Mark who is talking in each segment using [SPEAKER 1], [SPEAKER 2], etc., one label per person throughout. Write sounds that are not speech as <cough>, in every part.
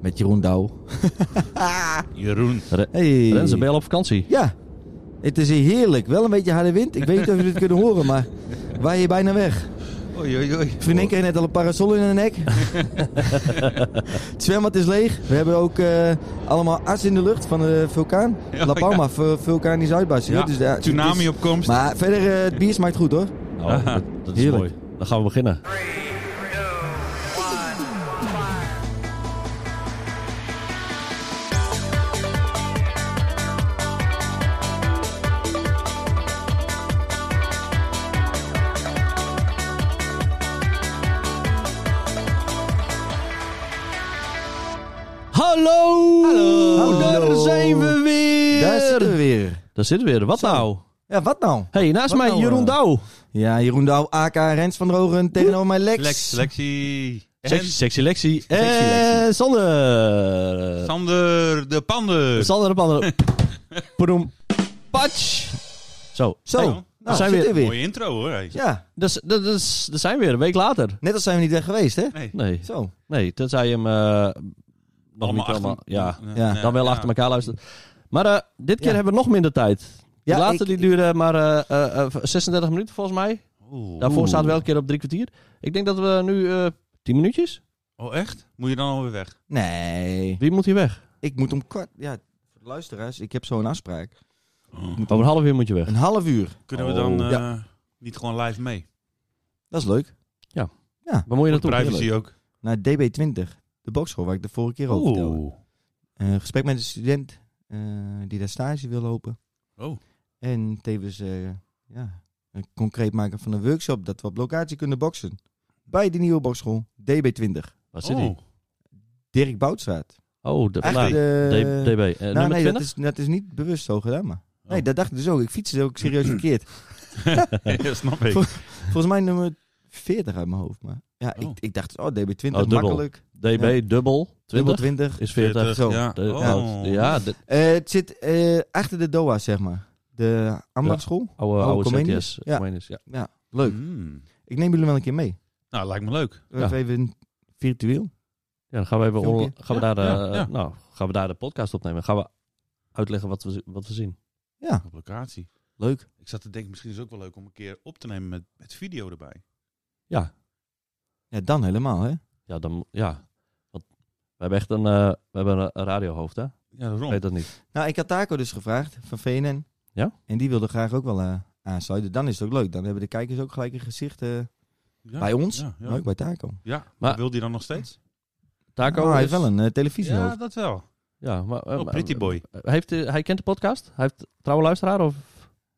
[SPEAKER 1] Met Jeroen Douw.
[SPEAKER 2] Jeroen.
[SPEAKER 3] Re-
[SPEAKER 1] Hey.
[SPEAKER 3] Renze, ben je al op vakantie?
[SPEAKER 1] Ja. Het is hier heerlijk. Wel een beetje harde wind. Ik weet niet of jullie het kunnen horen, maar wij hier bijna weg.
[SPEAKER 2] Oei, oei, oei.
[SPEAKER 1] Vriendin kreeg net al een parasol in de nek. het zwembad is leeg. We hebben ook eh, allemaal as in de lucht van de vulkaan.
[SPEAKER 2] Ja,
[SPEAKER 1] La Palma, vu- vulkanisch uitbarsten.
[SPEAKER 2] Ja,
[SPEAKER 1] Dus, ja, het is-
[SPEAKER 2] tsunami op komst.
[SPEAKER 1] Maar verder, eh, het bier smaakt goed hoor.
[SPEAKER 3] Oh, dat, dat is
[SPEAKER 1] Heerlijk.
[SPEAKER 3] mooi. Dan gaan we beginnen. Hallo!
[SPEAKER 1] Hallo.
[SPEAKER 3] Daar zijn we weer!
[SPEAKER 1] Daar zitten we weer.
[SPEAKER 3] Daar zitten we weer. Wat nou?
[SPEAKER 1] Ja, wat nou?
[SPEAKER 3] hey, naast
[SPEAKER 1] Wat
[SPEAKER 3] mij
[SPEAKER 1] nou,
[SPEAKER 3] Jeroen
[SPEAKER 1] eh?
[SPEAKER 3] Douw.
[SPEAKER 1] Ja, Jeroen Douw, aka Rens van der Horen tegenover mij Lex.
[SPEAKER 2] Lex, Lexie.
[SPEAKER 3] Sexy,
[SPEAKER 2] En
[SPEAKER 1] Sexy
[SPEAKER 3] sexy Lexie.
[SPEAKER 1] Lexie.
[SPEAKER 3] En Eh, Sander.
[SPEAKER 2] Sander de Pander.
[SPEAKER 3] Sander op andere. Poedoem. Patsch. Zo.
[SPEAKER 1] Zo,
[SPEAKER 3] Hey,
[SPEAKER 1] nou,
[SPEAKER 3] daar zijn we
[SPEAKER 1] zitten
[SPEAKER 3] weer.
[SPEAKER 1] we weer.
[SPEAKER 2] Mooie intro hoor. hij.
[SPEAKER 1] Ja,
[SPEAKER 3] Dat, is- dat, dat, is- dat zijn we weer, een week later.
[SPEAKER 1] net als zijn we niet weg geweest hè?
[SPEAKER 2] Nee.
[SPEAKER 3] Nee,
[SPEAKER 1] Zo,
[SPEAKER 3] nee tenzij je hem eh, nog
[SPEAKER 2] Allemaal
[SPEAKER 3] niet allemaal...
[SPEAKER 2] achter,
[SPEAKER 3] Ja,
[SPEAKER 1] Ja,
[SPEAKER 3] dan wel
[SPEAKER 2] ja.
[SPEAKER 3] achter elkaar luisteren. Maar eh, dit keer
[SPEAKER 1] Ja.
[SPEAKER 3] hebben we nog minder tijd. De
[SPEAKER 1] Ja,
[SPEAKER 3] laatste
[SPEAKER 1] ik-
[SPEAKER 3] die duurde maar eh, eh, eh, 36 minuten volgens mij.
[SPEAKER 2] Oeh.
[SPEAKER 3] Daarvoor
[SPEAKER 1] Oeh.
[SPEAKER 3] zaten we elke keer op drie kwartier. Ik denk dat we nu eh 10 minuutjes.
[SPEAKER 2] Oh echt? Moet je dan alweer weg?
[SPEAKER 1] nee.
[SPEAKER 3] Wie moet hier weg?
[SPEAKER 1] Ik moet om kwart... Ja, voor de luisteraars, ik heb zo'n afspraak.
[SPEAKER 3] Over een half uur moet je weg.
[SPEAKER 1] Een half uur.
[SPEAKER 2] Kunnen
[SPEAKER 3] Oh.
[SPEAKER 2] we dan eh, niet gewoon live mee?
[SPEAKER 1] Dat is leuk.
[SPEAKER 3] Waar moet je
[SPEAKER 2] Voor
[SPEAKER 3] naartoe?
[SPEAKER 2] privacy ook.
[SPEAKER 1] Naar DB20, de bokschool waar ik de vorige keer over vertelde. Eh, gesprek met een student eh, die daar stage wil lopen.
[SPEAKER 2] Oh.
[SPEAKER 1] En tevens eh, ja, een concreet maken van een workshop dat we op locatie kunnen boksen. Bij de nieuwe bokschool DB20.
[SPEAKER 3] Wat zit
[SPEAKER 2] Oh.
[SPEAKER 3] hij?
[SPEAKER 1] Dirk Boutstraat.
[SPEAKER 3] Oh, de,
[SPEAKER 1] Echt,
[SPEAKER 3] nou,
[SPEAKER 1] eh,
[SPEAKER 3] D- DB. Eh,
[SPEAKER 1] nou,
[SPEAKER 3] nummer
[SPEAKER 1] nee,
[SPEAKER 3] 20?
[SPEAKER 1] dat is, dat is niet bewust zo gedaan, maar.
[SPEAKER 2] Oh.
[SPEAKER 1] Nee, dat dacht ik dus ook. Ik fietste ook
[SPEAKER 3] <clears throat>
[SPEAKER 1] serieus verkeerd.
[SPEAKER 2] <laughs> Ja, snap ik.
[SPEAKER 1] Voor- Volgens mij nummer 40 uit mijn hoofd. Maar ja,
[SPEAKER 2] Oh.
[SPEAKER 1] ik, ik dacht, oh, DB20,
[SPEAKER 3] Oh, dubbel.
[SPEAKER 1] makkelijk.
[SPEAKER 3] DB dubbel 20
[SPEAKER 1] Dubbel 20.
[SPEAKER 3] is 40.
[SPEAKER 1] Zo.
[SPEAKER 2] Ja.
[SPEAKER 3] De-
[SPEAKER 2] Oh.
[SPEAKER 3] nou, Ja, de
[SPEAKER 1] Eh, het zit eh, achter de DOA, zeg maar. De ambachtschool.
[SPEAKER 3] oude,
[SPEAKER 1] Oude
[SPEAKER 3] oude
[SPEAKER 1] Comenius.
[SPEAKER 3] CTS.
[SPEAKER 1] Ja.
[SPEAKER 3] Comenius, ja.
[SPEAKER 1] Leuk.
[SPEAKER 2] Hmm.
[SPEAKER 1] Ik neem jullie wel een keer mee.
[SPEAKER 2] Nou, lijkt me leuk.
[SPEAKER 1] Of Even virtueel.
[SPEAKER 3] Ja, dan gaan we even
[SPEAKER 1] Filmpje.
[SPEAKER 3] on- gaan we
[SPEAKER 2] Ja,
[SPEAKER 3] daar,
[SPEAKER 2] ja,
[SPEAKER 3] eh,
[SPEAKER 2] ja.
[SPEAKER 3] Nou, gaan we daar de podcast opnemen. Gaan we uitleggen wat we, zi- wat we zien.
[SPEAKER 1] Ja,
[SPEAKER 2] Op locatie.
[SPEAKER 1] leuk.
[SPEAKER 2] Ik zat te denken, misschien is het ook wel leuk om een keer op te nemen met, met video erbij.
[SPEAKER 3] Ja,
[SPEAKER 1] Ja, dan helemaal, hè?
[SPEAKER 3] ja, dan, ja. Want we hebben echt een, eh, we hebben een een radiohoofd, hè? Ik
[SPEAKER 2] Ja, daarom.
[SPEAKER 3] weet dat niet.
[SPEAKER 1] Nou, ik had Taco dus gevraagd van VNN.
[SPEAKER 3] Ja?
[SPEAKER 1] En die wilde graag ook wel eh, aansluiten. Dan is het ook leuk. Dan hebben de kijkers ook gelijk een gezicht eh,
[SPEAKER 2] Ja,
[SPEAKER 1] bij ons.
[SPEAKER 2] Ja, ja.
[SPEAKER 1] Maar ook bij Taco.
[SPEAKER 2] Ja,
[SPEAKER 3] Maar-
[SPEAKER 2] maar wil die dan nog steeds?
[SPEAKER 3] Taco
[SPEAKER 1] Ah, hij
[SPEAKER 3] is-
[SPEAKER 1] heeft wel een eh, televisiehoofd.
[SPEAKER 2] Ja, dat wel.
[SPEAKER 3] Ja, maar... eh,
[SPEAKER 2] Oh,
[SPEAKER 3] maar-
[SPEAKER 2] pretty boy.
[SPEAKER 3] Heeft, eh, hij kent de podcast? Hij heeft trouwe luisteraar? Of?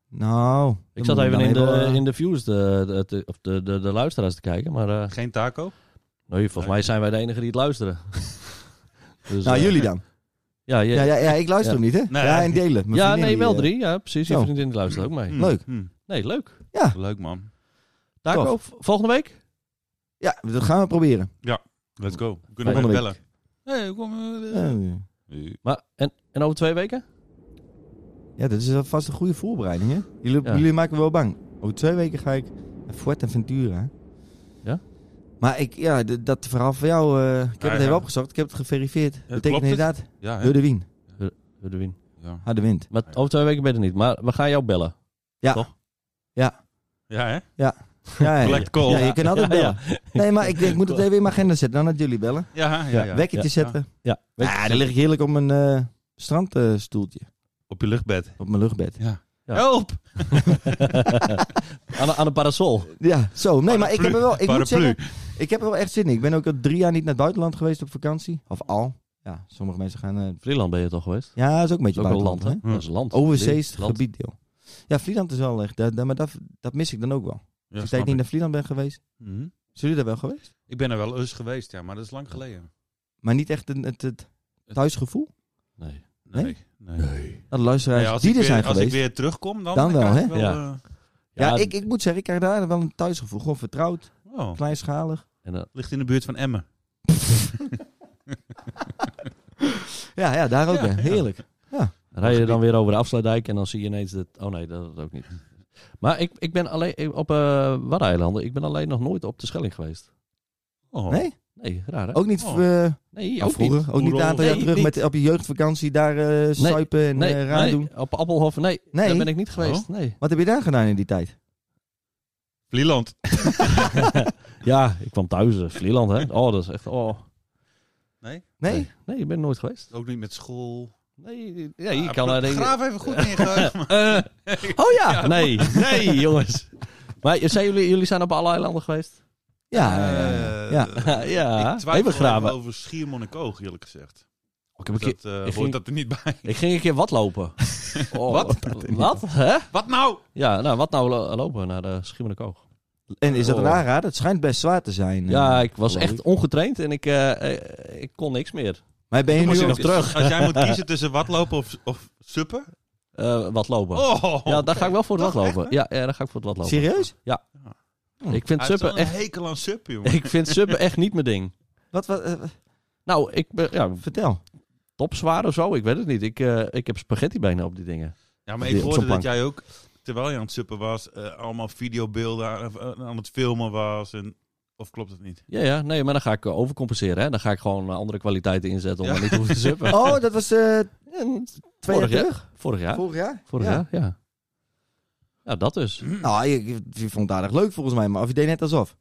[SPEAKER 1] Nou. dan
[SPEAKER 3] Ik zat
[SPEAKER 1] moet
[SPEAKER 3] even
[SPEAKER 1] dan
[SPEAKER 3] in
[SPEAKER 1] wel,
[SPEAKER 3] de,
[SPEAKER 1] eh,
[SPEAKER 3] in de views, de, de, de- of de, de, de luisteraars te kijken. Maar eh,
[SPEAKER 2] Geen taco?
[SPEAKER 3] nee, Nou, volgens mij zijn wij de enigen die het
[SPEAKER 1] <laughs>
[SPEAKER 3] luisteren. Dus,
[SPEAKER 1] Nou,
[SPEAKER 3] eh,
[SPEAKER 1] jullie dan.
[SPEAKER 3] Ja,
[SPEAKER 1] Ja,
[SPEAKER 3] ja,
[SPEAKER 1] ja, ja ik luister
[SPEAKER 3] Ja.
[SPEAKER 1] hem niet, hè?
[SPEAKER 2] Nee.
[SPEAKER 1] ja, en delen. Mijn
[SPEAKER 3] ja
[SPEAKER 1] vriendin
[SPEAKER 3] nee,
[SPEAKER 1] die,
[SPEAKER 3] wel
[SPEAKER 1] eh, Mm.
[SPEAKER 3] drie. Ja, precies. Je
[SPEAKER 1] Zo.
[SPEAKER 3] vriendin die luistert ook mee.
[SPEAKER 2] Hmm,
[SPEAKER 1] Leuk.
[SPEAKER 2] hmm.
[SPEAKER 3] Nee, leuk.
[SPEAKER 2] Leuk man.
[SPEAKER 3] Taco, v- volgende week?
[SPEAKER 1] Ja, dat gaan we proberen.
[SPEAKER 2] Let's go. We kunnen
[SPEAKER 3] Volgende
[SPEAKER 2] weer
[SPEAKER 1] week.
[SPEAKER 2] bellen. Hey, kom. eh,
[SPEAKER 1] Eh,
[SPEAKER 2] eh.
[SPEAKER 3] Maar, en, en over twee weken?
[SPEAKER 1] Ja, dat is alvast een goede voorbereiding, hè? Jullie,
[SPEAKER 3] Ja.
[SPEAKER 1] jullie maken me wel bang. Over twee weken ga ik naar Fuerteventura.
[SPEAKER 3] Ja?
[SPEAKER 1] Maar ik, ja, d- dat verhaal van jou, eh, ik heb
[SPEAKER 2] Ja,
[SPEAKER 1] het even
[SPEAKER 2] ja.
[SPEAKER 1] opgezocht, ik heb het geverifieerd.
[SPEAKER 2] klopt
[SPEAKER 1] Betekent
[SPEAKER 2] het?
[SPEAKER 1] inderdaad,
[SPEAKER 2] Ja, hè?
[SPEAKER 1] door de wien,
[SPEAKER 3] Edwin.
[SPEAKER 2] ja.
[SPEAKER 1] harde
[SPEAKER 2] <laughs>
[SPEAKER 1] wind.
[SPEAKER 3] Maar over twee weken ben je er niet. Maar we gaan jou bellen.
[SPEAKER 1] Ja.
[SPEAKER 3] Toch?
[SPEAKER 2] Ja, hè?
[SPEAKER 1] Ja, ja.
[SPEAKER 2] Collect call.
[SPEAKER 1] Ja, je kan
[SPEAKER 2] <laughs>
[SPEAKER 1] altijd
[SPEAKER 3] <laughs> Ja, ja.
[SPEAKER 1] bellen. Nee, maar ik, denk, ik moet het even in mijn agenda zetten, dan dat jullie bellen.
[SPEAKER 2] Ja, ja, ja.
[SPEAKER 1] Wekkertje zetten.
[SPEAKER 3] Ja.
[SPEAKER 1] Ja, dan lig ik heerlijk op mijn eh, strandstoeltje,
[SPEAKER 2] Op je luchtbed.
[SPEAKER 1] op mijn luchtbed.
[SPEAKER 3] Ja.
[SPEAKER 2] Help!
[SPEAKER 3] aan, een- aan een parasol.
[SPEAKER 1] Ja, zo. Nee, maar ik heb er wel, ik moet
[SPEAKER 2] Paraplu.
[SPEAKER 1] zeggen, ik heb er wel echt zin in. Ik ben ook al drie jaar niet naar het buitenland geweest op vakantie. Of al. Ja, sommige mensen gaan eh,
[SPEAKER 3] Vlieland ben je toch geweest?
[SPEAKER 1] Ja, dat is ook een beetje
[SPEAKER 3] Dat is ook wel land,
[SPEAKER 1] buitenland, hè?
[SPEAKER 3] hè?
[SPEAKER 2] hè?
[SPEAKER 3] Dat is land.
[SPEAKER 1] Overzees
[SPEAKER 3] Land.
[SPEAKER 1] gebieddeel. Ja, Vlieland is wel echt, daar- daar- maar dat, dat mis ik dan ook wel.
[SPEAKER 2] Ja,
[SPEAKER 1] Als
[SPEAKER 2] snap
[SPEAKER 1] ik niet
[SPEAKER 2] ik.
[SPEAKER 1] naar Vlieland ben geweest.
[SPEAKER 2] Mhm.
[SPEAKER 1] Zijn jullie daar wel geweest?
[SPEAKER 2] Ik ben er wel eens geweest, ja, maar dat is lang geleden.
[SPEAKER 1] Maar niet echt een, het, het thuisgevoel?
[SPEAKER 3] Nee.
[SPEAKER 2] Nee.
[SPEAKER 1] Nee?
[SPEAKER 2] nee. nee.
[SPEAKER 1] Nou, de luisteraars
[SPEAKER 2] als
[SPEAKER 1] die
[SPEAKER 2] ik
[SPEAKER 1] er
[SPEAKER 2] weer,
[SPEAKER 1] zijn
[SPEAKER 2] als
[SPEAKER 1] geweest.
[SPEAKER 2] ik weer terugkom,
[SPEAKER 1] Dan
[SPEAKER 2] dan, dan
[SPEAKER 1] wel,
[SPEAKER 2] krijg ik
[SPEAKER 1] hè?
[SPEAKER 3] Ja.
[SPEAKER 2] eh,
[SPEAKER 1] ja, ik, ik moet zeggen, ik krijg daar wel een thuisgevoel. Gewoon vertrouwd,
[SPEAKER 2] oh,
[SPEAKER 1] kleinschalig.
[SPEAKER 3] En, dan-
[SPEAKER 2] ligt in de buurt van Emmen.
[SPEAKER 1] Ja, ja daar ook
[SPEAKER 2] Ja,
[SPEAKER 1] weer.
[SPEAKER 2] ja.
[SPEAKER 1] Heerlijk.
[SPEAKER 3] rij je dan weer over de afsluitdijk en dan zie je ineens dat... Oh nee, dat, dat ook niet. Maar ik, ik ben alleen ik- op eh Waddeneilanden. Ik ben alleen nog nooit op de Schelling geweest.
[SPEAKER 2] Oh.
[SPEAKER 1] Nee?
[SPEAKER 3] Nee, raar hè?
[SPEAKER 1] Ook niet...
[SPEAKER 2] Oh.
[SPEAKER 1] eh,
[SPEAKER 3] nee,
[SPEAKER 1] nou,
[SPEAKER 3] ook niet.
[SPEAKER 1] vroeger, ook niet een aantal jaar
[SPEAKER 3] Nee,
[SPEAKER 1] terug
[SPEAKER 3] niet.
[SPEAKER 1] met op je jeugdvakantie daar eh suipen en
[SPEAKER 3] nee,
[SPEAKER 1] eh, raar
[SPEAKER 3] nee,
[SPEAKER 1] doen.
[SPEAKER 3] op Appelhof, nee, Oh.
[SPEAKER 1] Nee?
[SPEAKER 3] Daar ben ik niet geweest, nee.
[SPEAKER 1] Wat heb je daar gedaan in die tijd?
[SPEAKER 2] Vlieland.
[SPEAKER 3] ja, ik kwam thuis, eh, Vlieland hè. Oh, dat is echt, oh.
[SPEAKER 1] Nee?
[SPEAKER 3] Nee, ik ben nooit geweest.
[SPEAKER 2] Ook niet met school.
[SPEAKER 3] Nee, ja, je
[SPEAKER 2] Ah,
[SPEAKER 3] kan daar denken...
[SPEAKER 2] Graaf
[SPEAKER 1] <laughs>
[SPEAKER 2] even goed <laughs> ingaan.
[SPEAKER 3] Eh,
[SPEAKER 1] Oh ja!
[SPEAKER 3] nee, nee jongens. Maar zijn jullie, jullie zijn op alle eilanden geweest?
[SPEAKER 1] Ja, ja, ja,
[SPEAKER 2] Eh,
[SPEAKER 1] ja. ja.
[SPEAKER 3] <laughs> ja,
[SPEAKER 2] ik twijfel
[SPEAKER 3] even graven. Oh,
[SPEAKER 2] even over Schiermonnikoog, en Koog, eerlijk gezegd.
[SPEAKER 3] Ik, heb een keer,
[SPEAKER 2] dat eh,
[SPEAKER 3] ging-
[SPEAKER 2] hoort dat er niet bij.
[SPEAKER 3] ik ging een keer wat <laughs> lopen. Oh,
[SPEAKER 2] Wat?
[SPEAKER 3] Wat? Hè?
[SPEAKER 2] Wat nou?
[SPEAKER 3] Ja, nou, wat nou lo- lopen naar de Schiermonnikoog?
[SPEAKER 1] En is dat een
[SPEAKER 3] Oh.
[SPEAKER 1] aanrader? Het schijnt best zwaar te zijn.
[SPEAKER 3] Ja,
[SPEAKER 1] eh,
[SPEAKER 3] ik was
[SPEAKER 1] geloof
[SPEAKER 3] echt
[SPEAKER 1] ik.
[SPEAKER 3] ongetraind en ik, eh, eh, ik kon niks meer.
[SPEAKER 1] Maar ben je
[SPEAKER 3] Toen
[SPEAKER 1] nu
[SPEAKER 3] moest
[SPEAKER 1] ook...
[SPEAKER 3] nog terug.
[SPEAKER 2] Als jij moet
[SPEAKER 3] <laughs>
[SPEAKER 2] kiezen tussen wat lopen of, of suppen.
[SPEAKER 3] Eh, wat lopen.
[SPEAKER 2] Oh,
[SPEAKER 3] ja, daar ga ik wel voor het
[SPEAKER 2] Toch,
[SPEAKER 3] wat lopen. Ja, ja, daar ga ik voor het wat lopen.
[SPEAKER 1] <laughs> Serieus?
[SPEAKER 3] Ik vind
[SPEAKER 2] Hij heeft
[SPEAKER 3] suppen
[SPEAKER 2] wel een
[SPEAKER 3] echt,
[SPEAKER 2] hekel aan suppen, jongen.
[SPEAKER 3] ik vind suppen echt niet mijn ding.
[SPEAKER 1] Wat, wat, eh,
[SPEAKER 3] Nou, ik ben ja,
[SPEAKER 1] vertel.
[SPEAKER 3] topzwaar of zo, ik weet het niet. Ik, eh, ik heb spaghettibenen op die dingen.
[SPEAKER 2] Ja, maar
[SPEAKER 3] Die
[SPEAKER 2] ik
[SPEAKER 3] op
[SPEAKER 2] hoorde
[SPEAKER 3] zo'n
[SPEAKER 2] dat jij ook, terwijl je aan het suppen was, eh, allemaal videobeelden aan, eh, aan het filmen was. En, of klopt dat
[SPEAKER 3] <laughs>
[SPEAKER 2] niet?
[SPEAKER 3] Ja, ja, nee, maar dan ga ik eh, overcompenseren. Hè. Dan ga ik gewoon eh, andere kwaliteiten inzetten om
[SPEAKER 2] Ja.
[SPEAKER 3] er niet te hoeven te suppen.
[SPEAKER 1] <laughs> Oh, dat was eh,
[SPEAKER 3] En
[SPEAKER 1] twee jaar
[SPEAKER 3] Vorig jaar?
[SPEAKER 1] terug?
[SPEAKER 3] vorig jaar.
[SPEAKER 1] Vorig jaar?
[SPEAKER 3] Vorig
[SPEAKER 1] Ja.
[SPEAKER 3] jaar, ja. Ja, dat dus.
[SPEAKER 1] Nou, ik, ik vond het aardig leuk volgens mij, maar of je deed net alsof.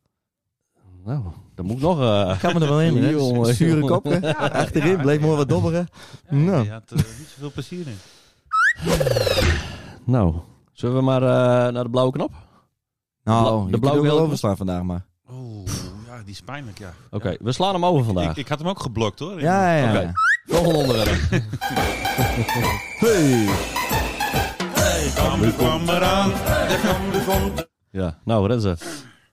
[SPEAKER 3] Nou, dan moet ik nog... eh,
[SPEAKER 1] Ik kan me er wel in, hè?
[SPEAKER 3] <laughs>
[SPEAKER 1] <laughs>
[SPEAKER 3] Jongen,
[SPEAKER 1] Zure
[SPEAKER 3] jongen.
[SPEAKER 1] koppen. Achterin
[SPEAKER 2] ja,
[SPEAKER 1] bleef
[SPEAKER 2] ja.
[SPEAKER 1] maar wat dobberen.
[SPEAKER 2] Ja,
[SPEAKER 1] Nou.
[SPEAKER 2] Je had er niet zoveel plezier in.
[SPEAKER 3] nou, zullen we maar eh, naar de blauwe knop?
[SPEAKER 1] Nou,
[SPEAKER 3] de
[SPEAKER 1] je kunt
[SPEAKER 3] blauwe
[SPEAKER 1] ook wel
[SPEAKER 3] wil-
[SPEAKER 1] overslaan vandaag, maar...
[SPEAKER 2] Oh, ja, die is pijnlijk, ja.
[SPEAKER 3] Oké, we slaan hem over vandaag.
[SPEAKER 2] Ik, ik had hem ook geblokt, hoor.
[SPEAKER 1] Ja, ja, ja.
[SPEAKER 3] Oké. Volgende onderwerp.
[SPEAKER 1] Hey.
[SPEAKER 2] De Cambuur kwam eraan. De Cambuur komt.
[SPEAKER 3] Ja, nou Renze.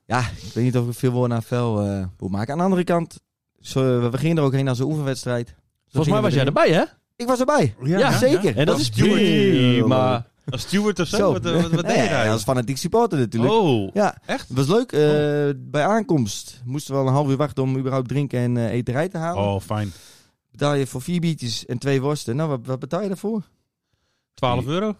[SPEAKER 1] Ja, ik weet niet of ik veel woorden aan fel eh moet maken. Aan de andere kant, zo, we- we gingen er ook heen als een oefenwedstrijd. Zo
[SPEAKER 3] Volgens
[SPEAKER 1] gingen
[SPEAKER 3] mij
[SPEAKER 1] we
[SPEAKER 3] was jij
[SPEAKER 1] erin.
[SPEAKER 3] erbij, hè?
[SPEAKER 1] Ik was erbij.
[SPEAKER 2] Ja,
[SPEAKER 3] ja,
[SPEAKER 1] Zeker.
[SPEAKER 3] En dat
[SPEAKER 2] Als
[SPEAKER 3] is
[SPEAKER 2] steward.
[SPEAKER 3] prima.
[SPEAKER 2] Als steward of zo?
[SPEAKER 1] Zo.
[SPEAKER 2] Wat, eh, wat, wat
[SPEAKER 1] Nee,
[SPEAKER 2] deed hij?
[SPEAKER 1] als fanatiek supporter natuurlijk.
[SPEAKER 2] Oh,
[SPEAKER 1] Ja,
[SPEAKER 2] echt?
[SPEAKER 1] het was leuk. Eh, Bij aankomst moesten we al een half uur wachten om überhaupt drinken en eh eterij te halen.
[SPEAKER 2] Oh, fijn.
[SPEAKER 1] Betaal je voor vier biertjes en twee worsten. Nou, wat, wat betaal je daarvoor?
[SPEAKER 2] 12 euro?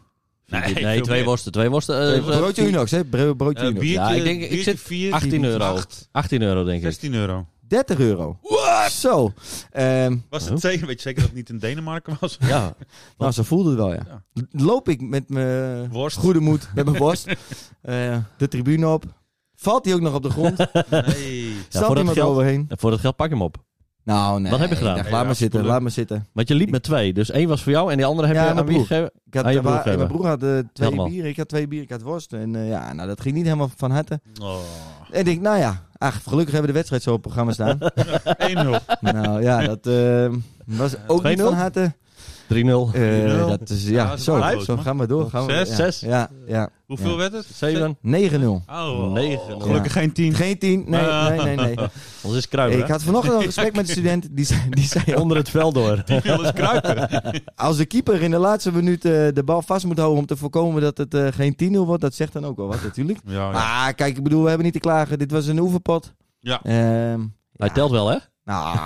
[SPEAKER 3] Nee,
[SPEAKER 2] veel
[SPEAKER 3] twee
[SPEAKER 2] meer.
[SPEAKER 3] worsten. Twee worsten. eh,
[SPEAKER 1] Een broodje
[SPEAKER 3] eh,
[SPEAKER 1] Unox, hè? Bro-
[SPEAKER 2] Eh,
[SPEAKER 1] Broodje Unox.
[SPEAKER 2] biertje,
[SPEAKER 3] Ja, ik denk- ik
[SPEAKER 2] biertje
[SPEAKER 3] zit
[SPEAKER 2] vier,
[SPEAKER 3] 18 euro.
[SPEAKER 2] acht,
[SPEAKER 3] 18 euro, denk ik.
[SPEAKER 2] 16 euro.
[SPEAKER 1] 30 euro. Zo. Ehm,
[SPEAKER 2] Was
[SPEAKER 3] Oh.
[SPEAKER 2] het zeker? Weet je zeker dat het niet in Denemarken was?
[SPEAKER 3] <laughs> Ja.
[SPEAKER 1] nou, zo voelde het wel, ja.
[SPEAKER 2] Ja.
[SPEAKER 1] Loop ik met mijn
[SPEAKER 2] Worst.
[SPEAKER 1] goede moed, met mijn worst, eh, de tribune op. Valt hij ook nog op de grond?
[SPEAKER 2] Nee.
[SPEAKER 1] Staat
[SPEAKER 3] voor dat
[SPEAKER 1] iemand
[SPEAKER 3] geld-
[SPEAKER 1] overheen?
[SPEAKER 3] En voor dat geld pak ik hem op.
[SPEAKER 1] Nou, nee.
[SPEAKER 3] Wat heb je gedaan?
[SPEAKER 1] ik dacht,
[SPEAKER 2] Nee,
[SPEAKER 1] laat
[SPEAKER 2] ja,
[SPEAKER 1] maar zitten,
[SPEAKER 2] spoelen.
[SPEAKER 1] laat maar zitten.
[SPEAKER 3] Want je liep met twee. Dus één was voor jou en die andere heb
[SPEAKER 1] Ja,
[SPEAKER 3] je
[SPEAKER 1] aan
[SPEAKER 3] aan
[SPEAKER 1] mijn
[SPEAKER 3] wie gegeven?
[SPEAKER 1] Ik had,
[SPEAKER 3] Aan je broer
[SPEAKER 1] wa-
[SPEAKER 3] geven.
[SPEAKER 1] mijn broer had eh, twee
[SPEAKER 3] Helemaal.
[SPEAKER 1] bieren, ik had twee bieren, ik had worst. En eh, ja, nou, dat ging niet helemaal van harte.
[SPEAKER 2] Oh.
[SPEAKER 1] En ik denk, nou ja, ach, gelukkig hebben we de wedstrijd zo op het programma
[SPEAKER 2] <laughs>
[SPEAKER 1] staan.
[SPEAKER 2] 1-0.
[SPEAKER 1] nou ja, dat eh, was ook niet
[SPEAKER 3] 2-0?
[SPEAKER 1] van harte.
[SPEAKER 3] 3-0.
[SPEAKER 1] Eh,
[SPEAKER 2] 3-0.
[SPEAKER 1] dat is,
[SPEAKER 2] Ja,
[SPEAKER 1] ja,
[SPEAKER 2] dat is
[SPEAKER 1] zo,
[SPEAKER 2] waar,
[SPEAKER 1] zo
[SPEAKER 2] man.
[SPEAKER 1] gaan we door. Gaan we,
[SPEAKER 2] Zes,
[SPEAKER 1] ja,
[SPEAKER 3] zes.
[SPEAKER 1] Ja, ja,
[SPEAKER 2] Hoeveel
[SPEAKER 1] Ja.
[SPEAKER 2] werd het?
[SPEAKER 3] 7.
[SPEAKER 1] 9-0.
[SPEAKER 2] Oh,
[SPEAKER 3] Negen.
[SPEAKER 2] Gelukkig geen
[SPEAKER 1] <laughs>
[SPEAKER 2] 10.
[SPEAKER 1] Geen 10, nee,
[SPEAKER 2] Ah.
[SPEAKER 1] nee, nee,
[SPEAKER 2] <laughs>
[SPEAKER 1] nee.
[SPEAKER 3] Ons is kruipen.
[SPEAKER 1] Ik had vanochtend een gesprek met een student, die zei, die zei
[SPEAKER 3] hè? <laughs> Onder het vel door.
[SPEAKER 2] Wil eens kruipen.
[SPEAKER 1] Als de keeper in de laatste minuut eh, de bal vast moet houden om te voorkomen dat het eh, geen 10-0 wordt, dat zegt dan ook wel wat natuurlijk.
[SPEAKER 2] Oh, Ja, ja.
[SPEAKER 1] Maar kijk, ik bedoel, we hebben niet te klagen. Dit was een oefenpot.
[SPEAKER 2] Ja.
[SPEAKER 1] Ehm,
[SPEAKER 3] Hij telt wel, hè?
[SPEAKER 2] <laughs>
[SPEAKER 1] Nou,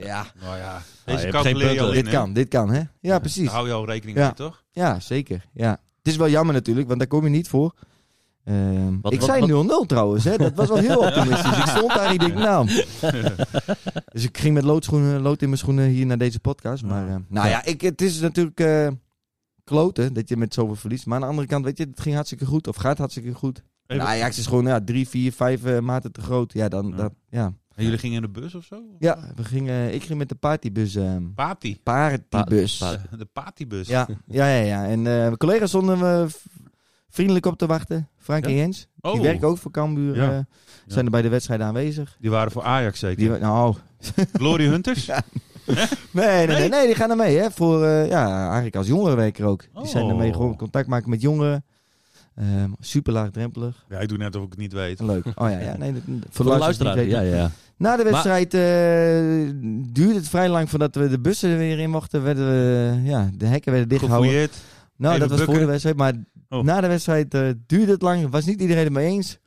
[SPEAKER 1] ja.
[SPEAKER 2] Nou ja.
[SPEAKER 3] hebt
[SPEAKER 2] Deze
[SPEAKER 3] geen
[SPEAKER 2] calculeer je
[SPEAKER 3] punten.
[SPEAKER 2] al in,
[SPEAKER 1] Dit
[SPEAKER 2] hè?
[SPEAKER 1] kan, dit kan, hè? Ja, precies.
[SPEAKER 2] Daar hou je al rekening
[SPEAKER 1] Ja.
[SPEAKER 2] mee, toch?
[SPEAKER 1] Ja, zeker. Ja. Het is wel jammer natuurlijk, want daar kom je niet voor. Ehm,
[SPEAKER 3] Wat-
[SPEAKER 1] ik
[SPEAKER 3] wat-
[SPEAKER 1] zei
[SPEAKER 3] wat-
[SPEAKER 1] 0-0 trouwens, hè? dat was wel
[SPEAKER 3] <laughs>
[SPEAKER 1] heel optimistisch. Ik stond daar en ik denk, nou. Dus ik ging met loodschoenen, lood in mijn schoenen hier naar deze podcast. Maar eh, nou ja, ik, het is natuurlijk eh, kloten dat je met zoveel verliest. Maar aan de andere kant, weet je, het ging hartstikke goed of gaat hartstikke goed.
[SPEAKER 2] Even-
[SPEAKER 1] Nou, Ajax is gewoon ja, drie, vier, vijf eh, maten te groot. Ja, dan,
[SPEAKER 2] Ja.
[SPEAKER 1] Dat, ja.
[SPEAKER 2] En jullie gingen in de bus of zo?
[SPEAKER 1] ja we gingen, ik ging met de partybus. ehm
[SPEAKER 2] Pati.
[SPEAKER 1] partybus.
[SPEAKER 3] Pa- pa-
[SPEAKER 2] De Patibus.
[SPEAKER 1] Ja, ja, ja, ja. En eh, mijn collega's stonden we v- vriendelijk op te wachten. Frank en Jens.
[SPEAKER 2] Oh,
[SPEAKER 1] Die werken ook voor Cambuur.
[SPEAKER 2] Ja.
[SPEAKER 1] eh, Zijn er bij de wedstrijd aanwezig.
[SPEAKER 2] die waren voor Ajax zeker.
[SPEAKER 1] Die, nou,
[SPEAKER 2] Glory Hunters?
[SPEAKER 1] nee, nee, nee,
[SPEAKER 2] Nee?
[SPEAKER 1] nee, die gaan er mee. Hè, voor, eh, ja, eigenlijk als jongerenwerker ook. Die zijn
[SPEAKER 2] Oh.
[SPEAKER 1] ermee gewoon contact maken met jongeren. Ehm super
[SPEAKER 2] <laughs>
[SPEAKER 1] laagdrempelig.
[SPEAKER 2] Ja, ik doe net of ik het niet weet.
[SPEAKER 1] En leuk. Oh ja, ja. Nee, dat-
[SPEAKER 3] Voor de
[SPEAKER 1] luisteraars
[SPEAKER 3] luisteraar.
[SPEAKER 1] die het
[SPEAKER 3] Ja,
[SPEAKER 1] weten.
[SPEAKER 3] ja.
[SPEAKER 1] <laughs> Na de wedstrijd eh, duurde het vrij lang voordat we de bussen er weer in mochten. Werden we, ja, de hekken werden dichtgehouden.
[SPEAKER 2] Gefouilleerd.
[SPEAKER 1] Nou,
[SPEAKER 2] Even
[SPEAKER 1] dat was voor
[SPEAKER 2] bukken.
[SPEAKER 1] de wedstrijd. Maar
[SPEAKER 2] Oh.
[SPEAKER 1] na de wedstrijd eh, duurde het lang. Was niet iedereen het mee eens.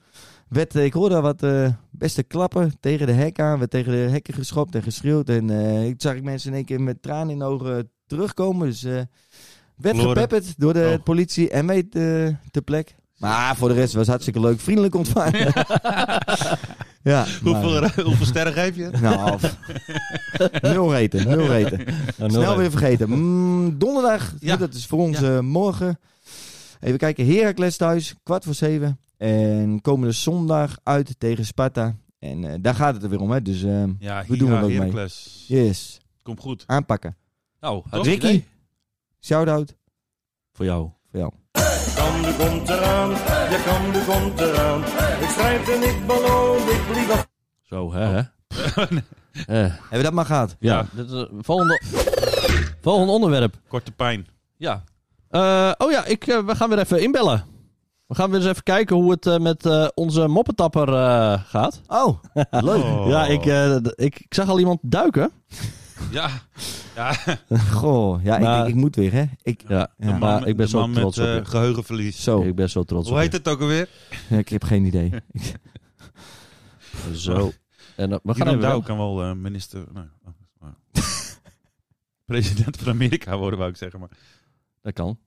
[SPEAKER 1] Werd, eh, ik hoorde al wat eh, beste klappen tegen de hek aan. Werd tegen de hekken geschopt en geschreeuwd. En eh, ik zag ik mensen in één keer met tranen in de ogen terugkomen. Dus eh werd
[SPEAKER 2] Verloren.
[SPEAKER 1] gepepperd door de
[SPEAKER 2] Oh.
[SPEAKER 1] politie en mee eh,
[SPEAKER 2] <laughs>
[SPEAKER 1] te, te plek. Maar voor de rest was het hartstikke leuk. Vriendelijk ontvangen. Ja,
[SPEAKER 2] Hoeveel,
[SPEAKER 1] maar,
[SPEAKER 2] hoeveel sterren geef je?
[SPEAKER 1] eh,
[SPEAKER 2] <laughs>
[SPEAKER 1] Nou, af. nul reten, nul reten.
[SPEAKER 3] Nou, nul
[SPEAKER 1] Snel
[SPEAKER 3] even.
[SPEAKER 1] weer vergeten. Mm, donderdag,
[SPEAKER 2] Ja.
[SPEAKER 1] dat is voor ons eh, morgen. Even kijken, Heracles thuis, kwart voor zeven. En komende zondag uit tegen Sparta. En eh, daar gaat het er weer om, hè. Dus eh,
[SPEAKER 2] Ja,
[SPEAKER 1] We doen
[SPEAKER 2] Hira,
[SPEAKER 1] er ook mee.
[SPEAKER 2] Heracles.
[SPEAKER 1] yes,
[SPEAKER 2] Komt goed.
[SPEAKER 1] aanpakken.
[SPEAKER 3] Nou, had-
[SPEAKER 2] Toch?
[SPEAKER 1] Ricky,
[SPEAKER 2] Nee.
[SPEAKER 1] shout-out
[SPEAKER 3] voor jou.
[SPEAKER 1] voor jou.
[SPEAKER 4] Kamde komt eraan, je kamde komt eraan. Ik schrijf en ik beloof, ik vlieg af.
[SPEAKER 3] Zo, hè? hè?
[SPEAKER 1] <laughs>
[SPEAKER 3] Eh,
[SPEAKER 1] Hebben we dat maar gehad?
[SPEAKER 3] ja,
[SPEAKER 2] Ja.
[SPEAKER 3] Dit is, eh, volgende, volgende onderwerp.
[SPEAKER 2] Korte pijn.
[SPEAKER 3] Ja. Eh, oh ja, ik, eh, we gaan weer even inbellen. We gaan weer eens even kijken hoe het eh, met eh, onze moppetapper eh, gaat.
[SPEAKER 1] Oh, leuk.
[SPEAKER 2] Oh.
[SPEAKER 3] Ja, ik, eh, d- ik, ik zag al iemand duiken.
[SPEAKER 2] Ja. Ja,
[SPEAKER 1] <laughs> Goh, ja, ik-
[SPEAKER 3] Maar-
[SPEAKER 1] ik, ik moet weer, hè. Ik,
[SPEAKER 3] Ja,
[SPEAKER 1] Ja.
[SPEAKER 2] de man,
[SPEAKER 3] maar
[SPEAKER 2] met-
[SPEAKER 3] ik ben
[SPEAKER 2] de
[SPEAKER 3] zo
[SPEAKER 2] man met
[SPEAKER 3] trots op je.
[SPEAKER 2] eh, geheugenverlies.
[SPEAKER 1] zo,
[SPEAKER 3] ik ben zo trots
[SPEAKER 2] Hoe
[SPEAKER 3] op
[SPEAKER 2] heet
[SPEAKER 3] je.
[SPEAKER 2] het ook alweer?
[SPEAKER 1] ik heb geen idee. Ik-
[SPEAKER 3] Zo.
[SPEAKER 1] Oh.
[SPEAKER 3] En eh, we gaan
[SPEAKER 2] Jeroen
[SPEAKER 3] even...
[SPEAKER 2] Douw kan wel eh, minister... nee, oh, maar- President van Amerika worden, wou ik zeggen. Maar.
[SPEAKER 3] Dat kan.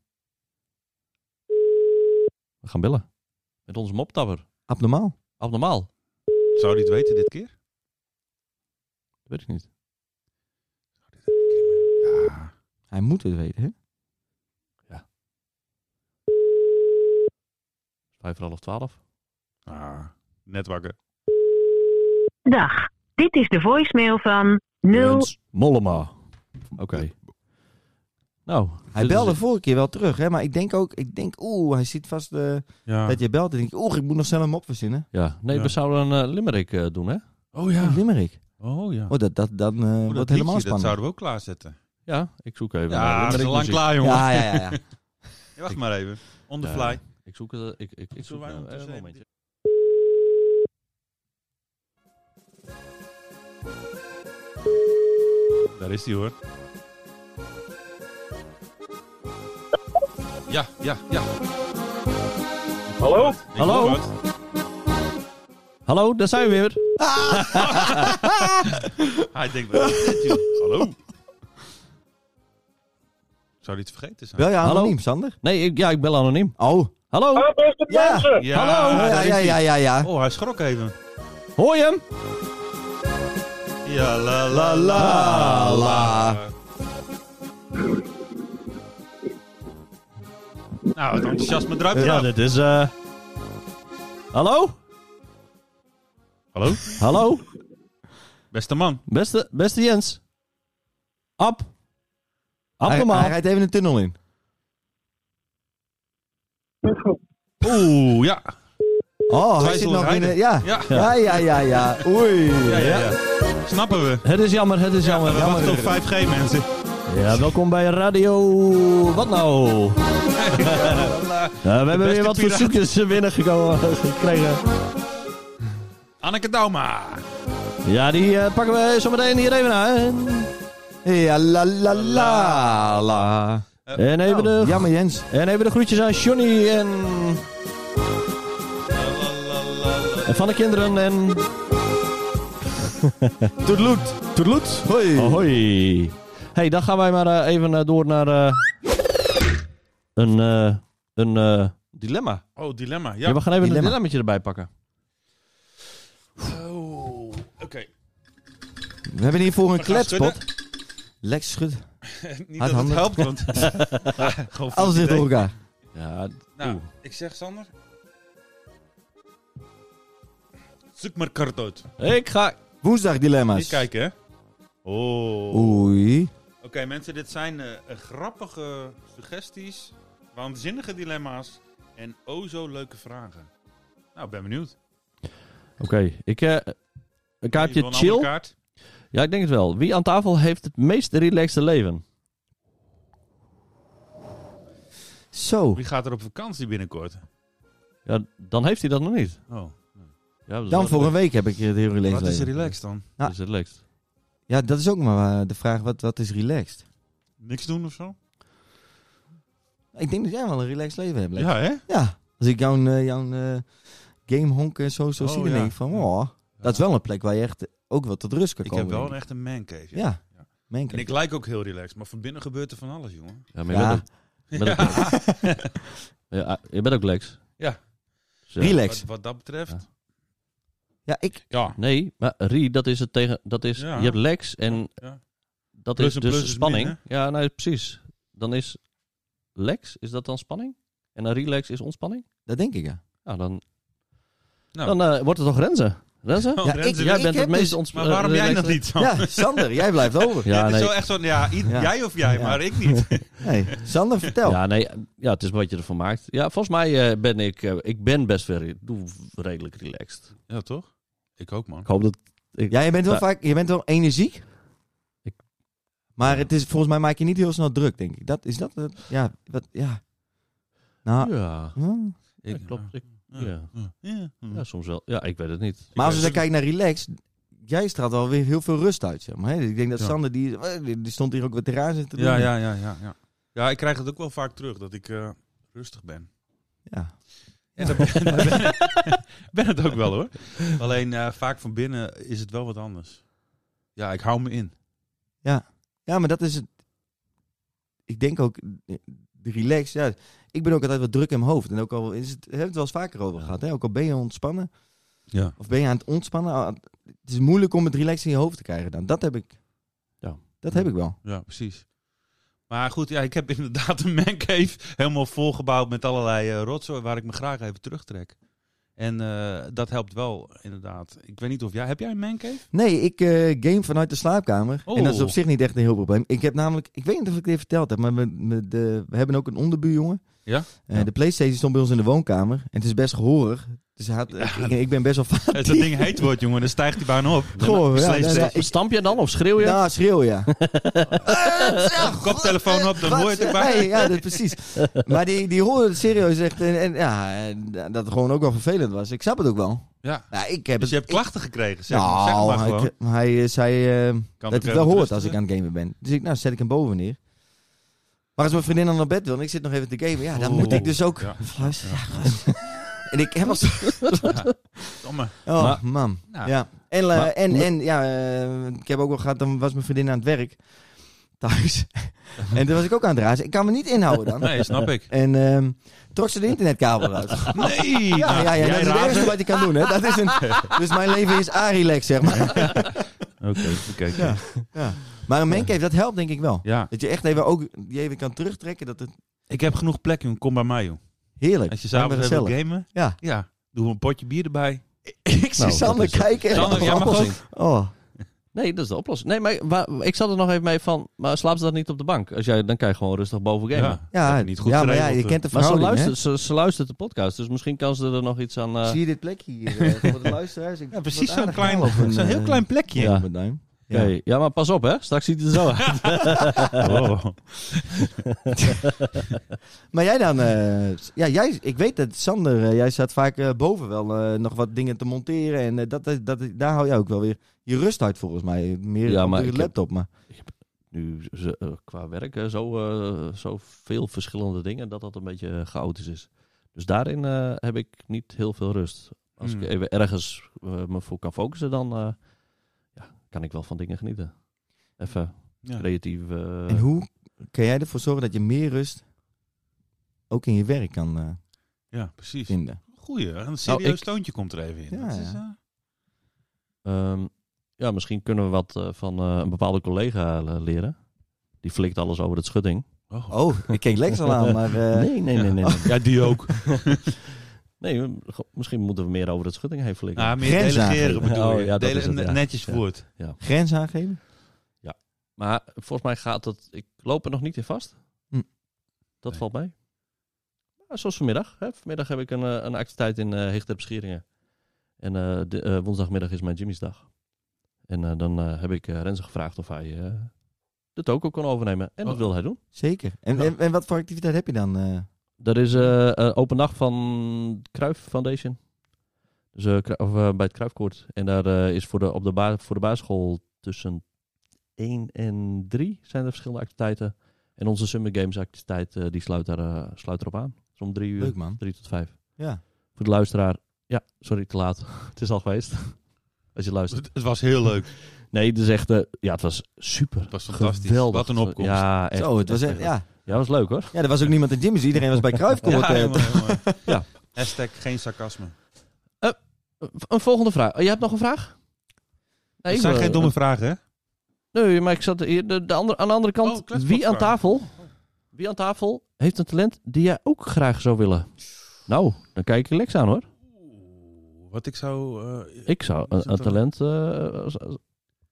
[SPEAKER 3] We gaan bellen. Met onze moppetapper.
[SPEAKER 1] Abnormaal.
[SPEAKER 3] Abnormaal. Dat
[SPEAKER 2] Zou hij het weten dit keer?
[SPEAKER 3] weet ik niet.
[SPEAKER 2] Ja.
[SPEAKER 1] Hij moet het weten, hè.
[SPEAKER 3] Vijf voor half twaalf.
[SPEAKER 2] Ah, net wakker.
[SPEAKER 5] Dag, dit is de voicemail van 0.
[SPEAKER 3] Jens Mollema. Oké. Nou.
[SPEAKER 1] Hij
[SPEAKER 3] dit is
[SPEAKER 1] belde
[SPEAKER 3] het.
[SPEAKER 1] vorige keer wel terug, hè. Maar ik denk ook, ik denk, oeh, hij zit vast... eh,
[SPEAKER 2] Ja.
[SPEAKER 1] Dat je belt en denk je, oeh, ik moet nog snel hem op verzinnen.
[SPEAKER 3] Ja. Nee,
[SPEAKER 2] Ja.
[SPEAKER 3] we zouden een eh, limerick eh, doen, hè?
[SPEAKER 2] Oh
[SPEAKER 1] Ja.
[SPEAKER 2] ja.
[SPEAKER 1] Limerick.
[SPEAKER 2] Oh ja.
[SPEAKER 1] Oh, dat, dat, dan eh wordt helemaal
[SPEAKER 2] dat liedje, dat
[SPEAKER 1] spannend.
[SPEAKER 2] zouden we ook klaarzetten.
[SPEAKER 3] Ja, ik zoek even. eh,
[SPEAKER 2] Ja, dat is
[SPEAKER 3] limerick
[SPEAKER 2] al lang
[SPEAKER 3] muziek.
[SPEAKER 2] klaar, jongen.
[SPEAKER 1] Ja, ja, ja.
[SPEAKER 2] <laughs>
[SPEAKER 1] ja.
[SPEAKER 2] Ja, Wacht maar even. On the
[SPEAKER 3] Ja.
[SPEAKER 2] fly.
[SPEAKER 3] Ik zoek het. eh, Ik, ik, ik zoek
[SPEAKER 2] Zullen wij
[SPEAKER 3] nou, eh,
[SPEAKER 2] ondertussen
[SPEAKER 3] een
[SPEAKER 2] even-
[SPEAKER 3] momentje.
[SPEAKER 2] Daar is hij hoor. Ja, ja, ja.
[SPEAKER 4] Hallo?
[SPEAKER 2] Ik
[SPEAKER 3] Hallo?
[SPEAKER 2] hoor wat.
[SPEAKER 3] Hallo, daar zijn we weer.
[SPEAKER 2] Hij denkt, wat is dit,
[SPEAKER 1] <laughs>
[SPEAKER 2] joh? hallo? Zou hij het vergeten zijn?
[SPEAKER 1] Bel je anoniem,
[SPEAKER 3] Hallo?
[SPEAKER 1] Sander?
[SPEAKER 3] Nee, ik, ja, ik bel anoniem.
[SPEAKER 1] Oh.
[SPEAKER 3] Hallo,
[SPEAKER 4] Ah, beste
[SPEAKER 1] Ja.
[SPEAKER 4] mensen!
[SPEAKER 2] Ja,
[SPEAKER 3] Hallo?
[SPEAKER 1] Ja,
[SPEAKER 2] daar is
[SPEAKER 1] ja,
[SPEAKER 2] hij.
[SPEAKER 1] ja, ja, ja.
[SPEAKER 2] Oh, hij schrok even.
[SPEAKER 3] hoor je hem?
[SPEAKER 2] Ja, la, la, la, la. Nou, het enthousiasme druipt eraf.
[SPEAKER 3] dit is... eh, Hallo?
[SPEAKER 2] Hallo?
[SPEAKER 3] Hallo?
[SPEAKER 2] Beste man.
[SPEAKER 3] Beste, beste Jens. Ab. Ab
[SPEAKER 1] Hij,
[SPEAKER 3] normaal.
[SPEAKER 1] hij rijdt even een tunnel in.
[SPEAKER 2] Oeh, ja.
[SPEAKER 1] Oh, hij
[SPEAKER 2] Twijfel
[SPEAKER 1] zit nog in...
[SPEAKER 2] rijden.
[SPEAKER 1] eh, Ja.
[SPEAKER 2] Ja.
[SPEAKER 1] Ja, ja, ja, ja. Oei.
[SPEAKER 2] Ja, ja, ja. Snappen we.
[SPEAKER 3] Het is jammer, het is
[SPEAKER 2] We
[SPEAKER 3] jammer.
[SPEAKER 2] wachten op
[SPEAKER 3] jammer.
[SPEAKER 2] 5G, mensen.
[SPEAKER 3] Ja, welkom bij Radio... Wat nou? Ja, we hebben
[SPEAKER 2] beste
[SPEAKER 3] weer wat
[SPEAKER 2] piraat.
[SPEAKER 3] verzoekjes eh, binnengekomen gekregen.
[SPEAKER 2] <laughs> Anneke Dauma.
[SPEAKER 3] Ja, die eh, pakken we zometeen hier even aan.
[SPEAKER 1] Ja, la, la, la, la.
[SPEAKER 3] En even, de,
[SPEAKER 1] Jammer, Jens.
[SPEAKER 3] en even de groetjes aan Johnny en, en van de kinderen en...
[SPEAKER 1] Toedeloet. Toedeloet. Hoi.
[SPEAKER 2] Oh.
[SPEAKER 3] Hoi. Hey, dan gaan wij maar eh, even eh, door naar eh, een, eh, een eh, dilemma.
[SPEAKER 2] Oh, dilemma.
[SPEAKER 3] Ja, we
[SPEAKER 2] Ja.
[SPEAKER 3] gaan even
[SPEAKER 1] dilemma.
[SPEAKER 3] een dilemmaatje erbij pakken.
[SPEAKER 2] Oh, oké.
[SPEAKER 1] We hebben hiervoor een
[SPEAKER 2] We gaan
[SPEAKER 1] kletspot. Lex schud.
[SPEAKER 2] Niet dat het
[SPEAKER 1] Hardhandig.
[SPEAKER 2] helpt, want... Gewoon
[SPEAKER 1] Alles
[SPEAKER 2] idee.
[SPEAKER 1] dicht door elkaar.
[SPEAKER 3] Ja,
[SPEAKER 2] Nou,
[SPEAKER 3] oeh.
[SPEAKER 2] ik zeg Sander. Zoek maar kart uit.
[SPEAKER 3] ik ga...
[SPEAKER 1] Woensdag
[SPEAKER 2] Eens
[SPEAKER 1] dilemma's.
[SPEAKER 2] kijken, hè. Oh.
[SPEAKER 1] Oei.
[SPEAKER 2] Oké, mensen, dit zijn eh, eh, grappige suggesties, waanzinnige dilemma's en oh zo leuke vragen. Nou, ik ben benieuwd.
[SPEAKER 3] Oké, ik... eh een
[SPEAKER 2] Jullie
[SPEAKER 3] kaartje
[SPEAKER 2] willen een andere
[SPEAKER 3] chill.
[SPEAKER 2] kaart?
[SPEAKER 3] Ja, ik denk het wel. Wie aan tafel heeft het meest relaxte leven?
[SPEAKER 1] Zo.
[SPEAKER 2] Wie gaat er op vakantie binnenkort?
[SPEAKER 3] Ja, dan heeft hij dat nog niet.
[SPEAKER 2] Oh,
[SPEAKER 3] Ja, dus dat is
[SPEAKER 1] Dan
[SPEAKER 3] wel-
[SPEAKER 1] voor een week heb ik het heel relaxed
[SPEAKER 2] wat is
[SPEAKER 1] leven.
[SPEAKER 2] relaxed dan?
[SPEAKER 3] Dat is relaxed.
[SPEAKER 1] Ja, dat is ook maar eh, de vraag. Wat, wat is relaxed?
[SPEAKER 2] Niks doen of zo?
[SPEAKER 1] Ik denk dat jij wel een relaxed leven hebt. Lex. Ja.
[SPEAKER 2] Ja, hè?
[SPEAKER 1] Als ik jouw, eh, jouw eh, gamehonk en zo, zo
[SPEAKER 2] Oh,
[SPEAKER 1] zie, dan
[SPEAKER 2] ja.
[SPEAKER 1] denk ik van, oh, dat is wel een plek waar je echt ook wel tot rust kan
[SPEAKER 2] Ik
[SPEAKER 1] komen.
[SPEAKER 2] heb wel een
[SPEAKER 1] denk
[SPEAKER 2] echte mancave.
[SPEAKER 1] ik. Ja,
[SPEAKER 2] Ja.
[SPEAKER 1] Mijn
[SPEAKER 2] En ik
[SPEAKER 1] kant.
[SPEAKER 2] lijk ook heel relaxed, maar van binnen gebeurt er van alles, jongen.
[SPEAKER 3] Ja, maar
[SPEAKER 1] Ja.
[SPEAKER 3] Je, bent ook, ja. ja, ah, je bent ook Lex.
[SPEAKER 2] Ja.
[SPEAKER 3] Dus, eh,
[SPEAKER 1] Relaxed.
[SPEAKER 2] Wat, wat dat betreft.
[SPEAKER 1] Ja, ik...
[SPEAKER 2] Ja.
[SPEAKER 3] Nee, maar Rie, dat is het tegen. Dat is,
[SPEAKER 2] Ja.
[SPEAKER 3] Je hebt Lex en
[SPEAKER 2] Ja.
[SPEAKER 3] dat
[SPEAKER 2] Plus
[SPEAKER 3] is
[SPEAKER 2] en
[SPEAKER 3] dus
[SPEAKER 2] plus is
[SPEAKER 3] spanning.
[SPEAKER 2] min,
[SPEAKER 3] ja, nou precies. Dan is Lex, is dat dan spanning? En dan relax is ontspanning?
[SPEAKER 1] Dat denk ik, ja.
[SPEAKER 3] Nou, dan,
[SPEAKER 2] Nou.
[SPEAKER 3] dan eh, wordt het toch Renze? Renze?
[SPEAKER 2] Oh,
[SPEAKER 1] Ja,
[SPEAKER 2] Renze,
[SPEAKER 1] ik-
[SPEAKER 3] Jij
[SPEAKER 1] heb
[SPEAKER 3] bent het meest eh,
[SPEAKER 1] dus-
[SPEAKER 2] Maar
[SPEAKER 3] ontspannen.
[SPEAKER 2] waarom jij dat niet? Sam?
[SPEAKER 1] Ja, Sander, jij blijft over.
[SPEAKER 3] Ja,
[SPEAKER 2] Dit is
[SPEAKER 3] nee.
[SPEAKER 2] Oh. <laughs> zo echt zo'n, ja, i-
[SPEAKER 1] Ja.
[SPEAKER 2] jij of jij,
[SPEAKER 1] Ja.
[SPEAKER 2] maar ik
[SPEAKER 1] <laughs>
[SPEAKER 2] niet.
[SPEAKER 1] Nee, Sander, vertel.
[SPEAKER 3] Ja, nee, ja, het is wat je ervan maakt. Ja, volgens mij eh, ben ik, eh, ik ben best wel re- doe redelijk relaxed.
[SPEAKER 2] Ja, toch? Ik ook, man.
[SPEAKER 3] Ik hoop dat...
[SPEAKER 1] Ja, je bent wel
[SPEAKER 3] Ja.
[SPEAKER 1] vaak, je bent wel energiek.
[SPEAKER 3] Ik-
[SPEAKER 1] Maar het is, volgens mij maak je niet heel snel druk, denk ik. Dat, is dat, het? ja, wat, ja. Nou,
[SPEAKER 3] Ja,
[SPEAKER 1] hm.
[SPEAKER 3] dat
[SPEAKER 2] eh,
[SPEAKER 3] klopt. Ik- ja.
[SPEAKER 2] Ja. Hm.
[SPEAKER 3] ja, soms wel. Ja, ik weet het niet.
[SPEAKER 1] maar als
[SPEAKER 2] weet
[SPEAKER 1] we
[SPEAKER 2] het
[SPEAKER 1] dan kijken naar relax, jij straalt wel weer heel veel rust uit, zeg maar. hè. Ik denk dat
[SPEAKER 2] Ja.
[SPEAKER 1] Sander, die, eh, die die stond hier ook wat te raar zitten te doen.
[SPEAKER 2] Ja, ja, ja, ja, ja. Ja, ik krijg het ook wel vaak terug dat ik eh, rustig ben.
[SPEAKER 1] Ja.
[SPEAKER 2] En dat ben, <laughs> dat ben, <laughs> ben het ook wel hoor. Alleen eh, vaak van binnen is het wel wat anders. Ja, ik hou me in.
[SPEAKER 1] Ja, maar dat is het. Ik denk ook, eh, de relax, ja. Ik ben ook altijd wat druk in mijn hoofd. En ook al is het, we hebben het wel eens vaker over gehad, hè. Ook al ben je ontspannen,
[SPEAKER 2] Ja.
[SPEAKER 1] of ben je aan het ontspannen, ah, het is moeilijk om het relax in je hoofd te krijgen dan. Dat heb ik.
[SPEAKER 3] Ja.
[SPEAKER 1] Dat heb ik wel.
[SPEAKER 2] Ja, precies. Maar goed, ja, ik heb inderdaad een mancave helemaal volgebouwd met allerlei eh, rotzooi waar ik me graag even terugtrek. En eh, dat helpt wel, inderdaad. Ik weet niet of jij... Heb jij een mancave?
[SPEAKER 1] Nee, ik eh, game vanuit de slaapkamer.
[SPEAKER 2] Oh.
[SPEAKER 1] En dat is op zich niet echt een heel probleem. Ik heb namelijk, ik weet niet of ik dit verteld heb, maar we, we- de, we hebben ook een onderbuurjongen.
[SPEAKER 2] Ja?
[SPEAKER 1] Eh,
[SPEAKER 2] Ja.
[SPEAKER 1] De PlayStation stond bij ons in de woonkamer. En het is best gehoorig. Dus hij had, ik, ik ben
[SPEAKER 2] <laughs>
[SPEAKER 1] best wel vaak.
[SPEAKER 2] Als Eh, dat ding heet wordt, jongen, dan stijgt hij bijna op.
[SPEAKER 1] <laughs> Goh, ja,
[SPEAKER 2] Steeds-
[SPEAKER 1] ja, ja. Ik- Nou,
[SPEAKER 3] Stamp je dan of schreeuw je?
[SPEAKER 1] Ja, schreeuw
[SPEAKER 2] <laughs>
[SPEAKER 1] ja. Eh,
[SPEAKER 2] Koptelefoon op, dan
[SPEAKER 1] Wat?
[SPEAKER 2] hoor je het erbij.
[SPEAKER 1] Nee, ja, dat, precies. Maar die, die hoorde het serieus echt. En, en ja, en dat het gewoon ook wel vervelend was. Ik snap het ook wel.
[SPEAKER 2] Ja.
[SPEAKER 1] Ja, ik heb
[SPEAKER 2] Dus je
[SPEAKER 1] het,
[SPEAKER 2] hebt klachten gekregen,
[SPEAKER 1] ik-
[SPEAKER 2] zeg, zeg maar
[SPEAKER 1] Nou,
[SPEAKER 2] gewoon.
[SPEAKER 1] ik- hij eh, zei... eh,
[SPEAKER 2] Kan
[SPEAKER 1] dat hij
[SPEAKER 2] ook
[SPEAKER 1] het wel
[SPEAKER 2] even
[SPEAKER 1] hoort als ik
[SPEAKER 2] rusten.
[SPEAKER 1] aan het gamen ben. Dus ik, nou, zet ik hem boven neer. Maar als mijn vriendin dan naar bed wil en ik zit nog even te gamen, ja, dan
[SPEAKER 2] Oeh.
[SPEAKER 1] moet ik dus ook.
[SPEAKER 2] Ja.
[SPEAKER 1] Fluis, ja, gast. En ik heb al. zo-
[SPEAKER 2] Domme.
[SPEAKER 1] Oh,
[SPEAKER 3] Maar-
[SPEAKER 1] man.
[SPEAKER 2] Nou.
[SPEAKER 1] Ja. En, eh,
[SPEAKER 3] Maar-
[SPEAKER 1] en, en ja, eh, ik heb ook wel gehad, dan was mijn vriendin aan het werk thuis. en toen was ik ook aan het razen. Ik kan me niet inhouden dan.
[SPEAKER 2] Nee, snap ik.
[SPEAKER 1] En ehm, trok ze de internetkabel uit.
[SPEAKER 2] Nee!
[SPEAKER 1] <laughs>
[SPEAKER 2] nou,
[SPEAKER 1] Ja, ja, ja,
[SPEAKER 2] jij
[SPEAKER 1] dat is het
[SPEAKER 2] raast.
[SPEAKER 1] ergste wat je kan doen. Hè. Dat is een, dus mijn leven is Arilex, zeg maar.
[SPEAKER 2] Oké, oké, oké.
[SPEAKER 1] <laughs> Ja. Ja. Maar een mancave, dat helpt denk ik wel.
[SPEAKER 2] Ja.
[SPEAKER 1] Dat je echt even ook je even kan terugtrekken. Dat het
[SPEAKER 2] Ik heb genoeg plek, jongen. Kom bij mij, joh.
[SPEAKER 1] heerlijk.
[SPEAKER 2] Als je
[SPEAKER 1] Lijkt me
[SPEAKER 2] s'avonds even
[SPEAKER 1] gezellig.
[SPEAKER 2] wil gamen,
[SPEAKER 1] Ja.
[SPEAKER 2] ja, doe een potje bier erbij.
[SPEAKER 1] <laughs> Ik zie
[SPEAKER 3] Nou, dat
[SPEAKER 1] Sander
[SPEAKER 3] is het.
[SPEAKER 1] kijken. en-
[SPEAKER 2] Sander, jij mag
[SPEAKER 1] oh,
[SPEAKER 2] ook.
[SPEAKER 1] oh.
[SPEAKER 3] Nee, dat is de oplossing. Nee, maar waar- ik zat er nog even mee van, maar slaap ze dat niet op de bank? Als jij, dan kan je gewoon rustig boven gamen.
[SPEAKER 1] Ja,
[SPEAKER 2] heb je niet goed
[SPEAKER 1] ja maar ja,
[SPEAKER 2] geregeld,
[SPEAKER 1] je
[SPEAKER 2] eh.
[SPEAKER 1] kent de
[SPEAKER 3] Maar ze
[SPEAKER 1] verhouding, hè?
[SPEAKER 3] luistert, ze, ze luistert de podcast, dus misschien kan ze er nog iets aan... eh,
[SPEAKER 1] Zie je dit plekje hier eh,
[SPEAKER 2] <laughs>
[SPEAKER 1] voor de luisteraars? Ik-
[SPEAKER 2] Ja,
[SPEAKER 1] wat
[SPEAKER 2] precies zo'n
[SPEAKER 1] aardig
[SPEAKER 2] klein,
[SPEAKER 1] wel op een,
[SPEAKER 2] <laughs> zo'n heel
[SPEAKER 1] eh,
[SPEAKER 2] klein plekje.
[SPEAKER 1] ja.
[SPEAKER 3] Ja.
[SPEAKER 1] op een duim. Ja.
[SPEAKER 3] oké. Ja, maar pas op hè, straks ziet het er
[SPEAKER 1] <laughs>
[SPEAKER 3] zo uit.
[SPEAKER 2] Oh.
[SPEAKER 1] Maar jij dan... eh, s- ja, jij, ik weet dat, Sander, eh, jij staat vaak eh, boven wel eh, nog wat dingen te monteren. En eh, dat, dat, dat- daar hou jij ook wel weer je rust uit, volgens mij. Meer
[SPEAKER 3] Ja,
[SPEAKER 1] op
[SPEAKER 3] maar
[SPEAKER 1] je
[SPEAKER 3] ik heb-
[SPEAKER 1] laptop, maar...
[SPEAKER 3] Nu ze, eh, qua werk hè, zo, eh, zo veel verschillende dingen, dat dat een beetje eh, chaotisch is. Dus daarin eh, heb ik niet heel veel rust. Als
[SPEAKER 2] Hmm.
[SPEAKER 3] ik even ergens eh, me voor kan focussen, dan eh, ja, kan ik wel van dingen genieten. Even
[SPEAKER 2] Ja.
[SPEAKER 3] creatief... eh,
[SPEAKER 1] en hoe kan jij ervoor zorgen dat je meer rust ook in je werk kan eh,
[SPEAKER 2] ja, precies.
[SPEAKER 1] vinden?
[SPEAKER 2] Goeie, hè? een serieus
[SPEAKER 3] Nou, ik-
[SPEAKER 2] toontje komt er even in.
[SPEAKER 1] Ja,
[SPEAKER 2] Dat is,
[SPEAKER 1] ja.
[SPEAKER 2] eh,
[SPEAKER 3] Ehm, ja, misschien kunnen we wat eh, van eh, een bepaalde collega eh, leren. Die flikt alles over het schutting.
[SPEAKER 2] oh.
[SPEAKER 1] Oh, ik keek Lex al aan, maar... eh,
[SPEAKER 3] nee, nee, nee, nee. nee.
[SPEAKER 2] Ja, die ook.
[SPEAKER 3] <laughs>
[SPEAKER 1] <laughs>
[SPEAKER 3] Nee, we- go- misschien moeten we meer over het schutting heen flikken.
[SPEAKER 2] Nou, meer
[SPEAKER 1] Grenzen
[SPEAKER 2] delegeren
[SPEAKER 1] aangeven.
[SPEAKER 2] bedoel
[SPEAKER 3] Oh,
[SPEAKER 2] je.
[SPEAKER 3] ja, dat
[SPEAKER 2] Delen-
[SPEAKER 3] is het, ja.
[SPEAKER 2] Netjes
[SPEAKER 3] Ja.
[SPEAKER 2] voort.
[SPEAKER 1] Grens aangeven?
[SPEAKER 3] Maar volgens mij gaat dat... Ik loop er nog niet in vast.
[SPEAKER 1] Hm.
[SPEAKER 3] Dat
[SPEAKER 2] Nee.
[SPEAKER 3] valt mee. Maar zoals vanmiddag. Hè. Vanmiddag heb ik een, eh, een activiteit in eh Hichten op Scheringen. En eh, de- eh, woensdagmiddag is mijn Jimmy's dag. En eh, dan eh, heb ik eh Renze gevraagd of hij eh, de toko kon overnemen. En dat
[SPEAKER 2] Oh.
[SPEAKER 3] wil hij doen.
[SPEAKER 1] Zeker. En,
[SPEAKER 3] Ja.
[SPEAKER 1] en, en wat voor activiteit heb je dan? eh?
[SPEAKER 3] Dat is eh, eh, open dag van Kruif Foundation. Dus, eh, Kru- of, eh, bij het Kruifkoord. En daar eh, is voor de, op de, ba- voor de basisschool tussen 1 en 3 zijn er verschillende activiteiten. En onze Summer Games activiteit eh, die sluit, daar, eh, sluit erop aan. Dus om 3 uur,
[SPEAKER 1] Leuk man.
[SPEAKER 3] 3 tot 5.
[SPEAKER 1] Ja.
[SPEAKER 3] Voor de luisteraar, ja, sorry, te laat. <laughs> het is al geweest. Als je luistert.
[SPEAKER 2] Het, het was heel leuk.
[SPEAKER 3] Nee, het is echt, eh, ja, het was super.
[SPEAKER 2] Het was fantastisch.
[SPEAKER 3] Geweldig.
[SPEAKER 2] Wat een opkomst.
[SPEAKER 3] Ja, echt,
[SPEAKER 1] Zo, het was echt,
[SPEAKER 3] ja.
[SPEAKER 1] ja.
[SPEAKER 3] ja, het was leuk hoor.
[SPEAKER 1] ja, er dus was ook niemand
[SPEAKER 2] <laughs>
[SPEAKER 1] eh, in Jimmy's. Iedereen was bij Kruifkoord.
[SPEAKER 2] Ja,
[SPEAKER 1] eh,
[SPEAKER 2] jongen, jongen.
[SPEAKER 3] Ja.
[SPEAKER 2] Hashtag geen sarcasme.
[SPEAKER 3] Een volgende vraag. Oh, jij hebt nog een vraag? Nee,
[SPEAKER 2] Het
[SPEAKER 3] ik
[SPEAKER 2] zijn
[SPEAKER 3] wil-
[SPEAKER 2] geen domme vragen, hè?
[SPEAKER 3] Nee, maar ik zat hier, de, de andere, aan de andere
[SPEAKER 2] Oh,
[SPEAKER 3] kant.
[SPEAKER 2] kletspodcast.
[SPEAKER 3] wie aan tafel? Wie aan tafel heeft een talent die jij ook graag zou willen? Nou, dan kijk ik Lex aan hoor.
[SPEAKER 2] Oeh, Wat ik zou... eh,
[SPEAKER 3] Ik zou
[SPEAKER 2] Wie is
[SPEAKER 3] een, een
[SPEAKER 2] dat dan?
[SPEAKER 3] talent. eh, als- als-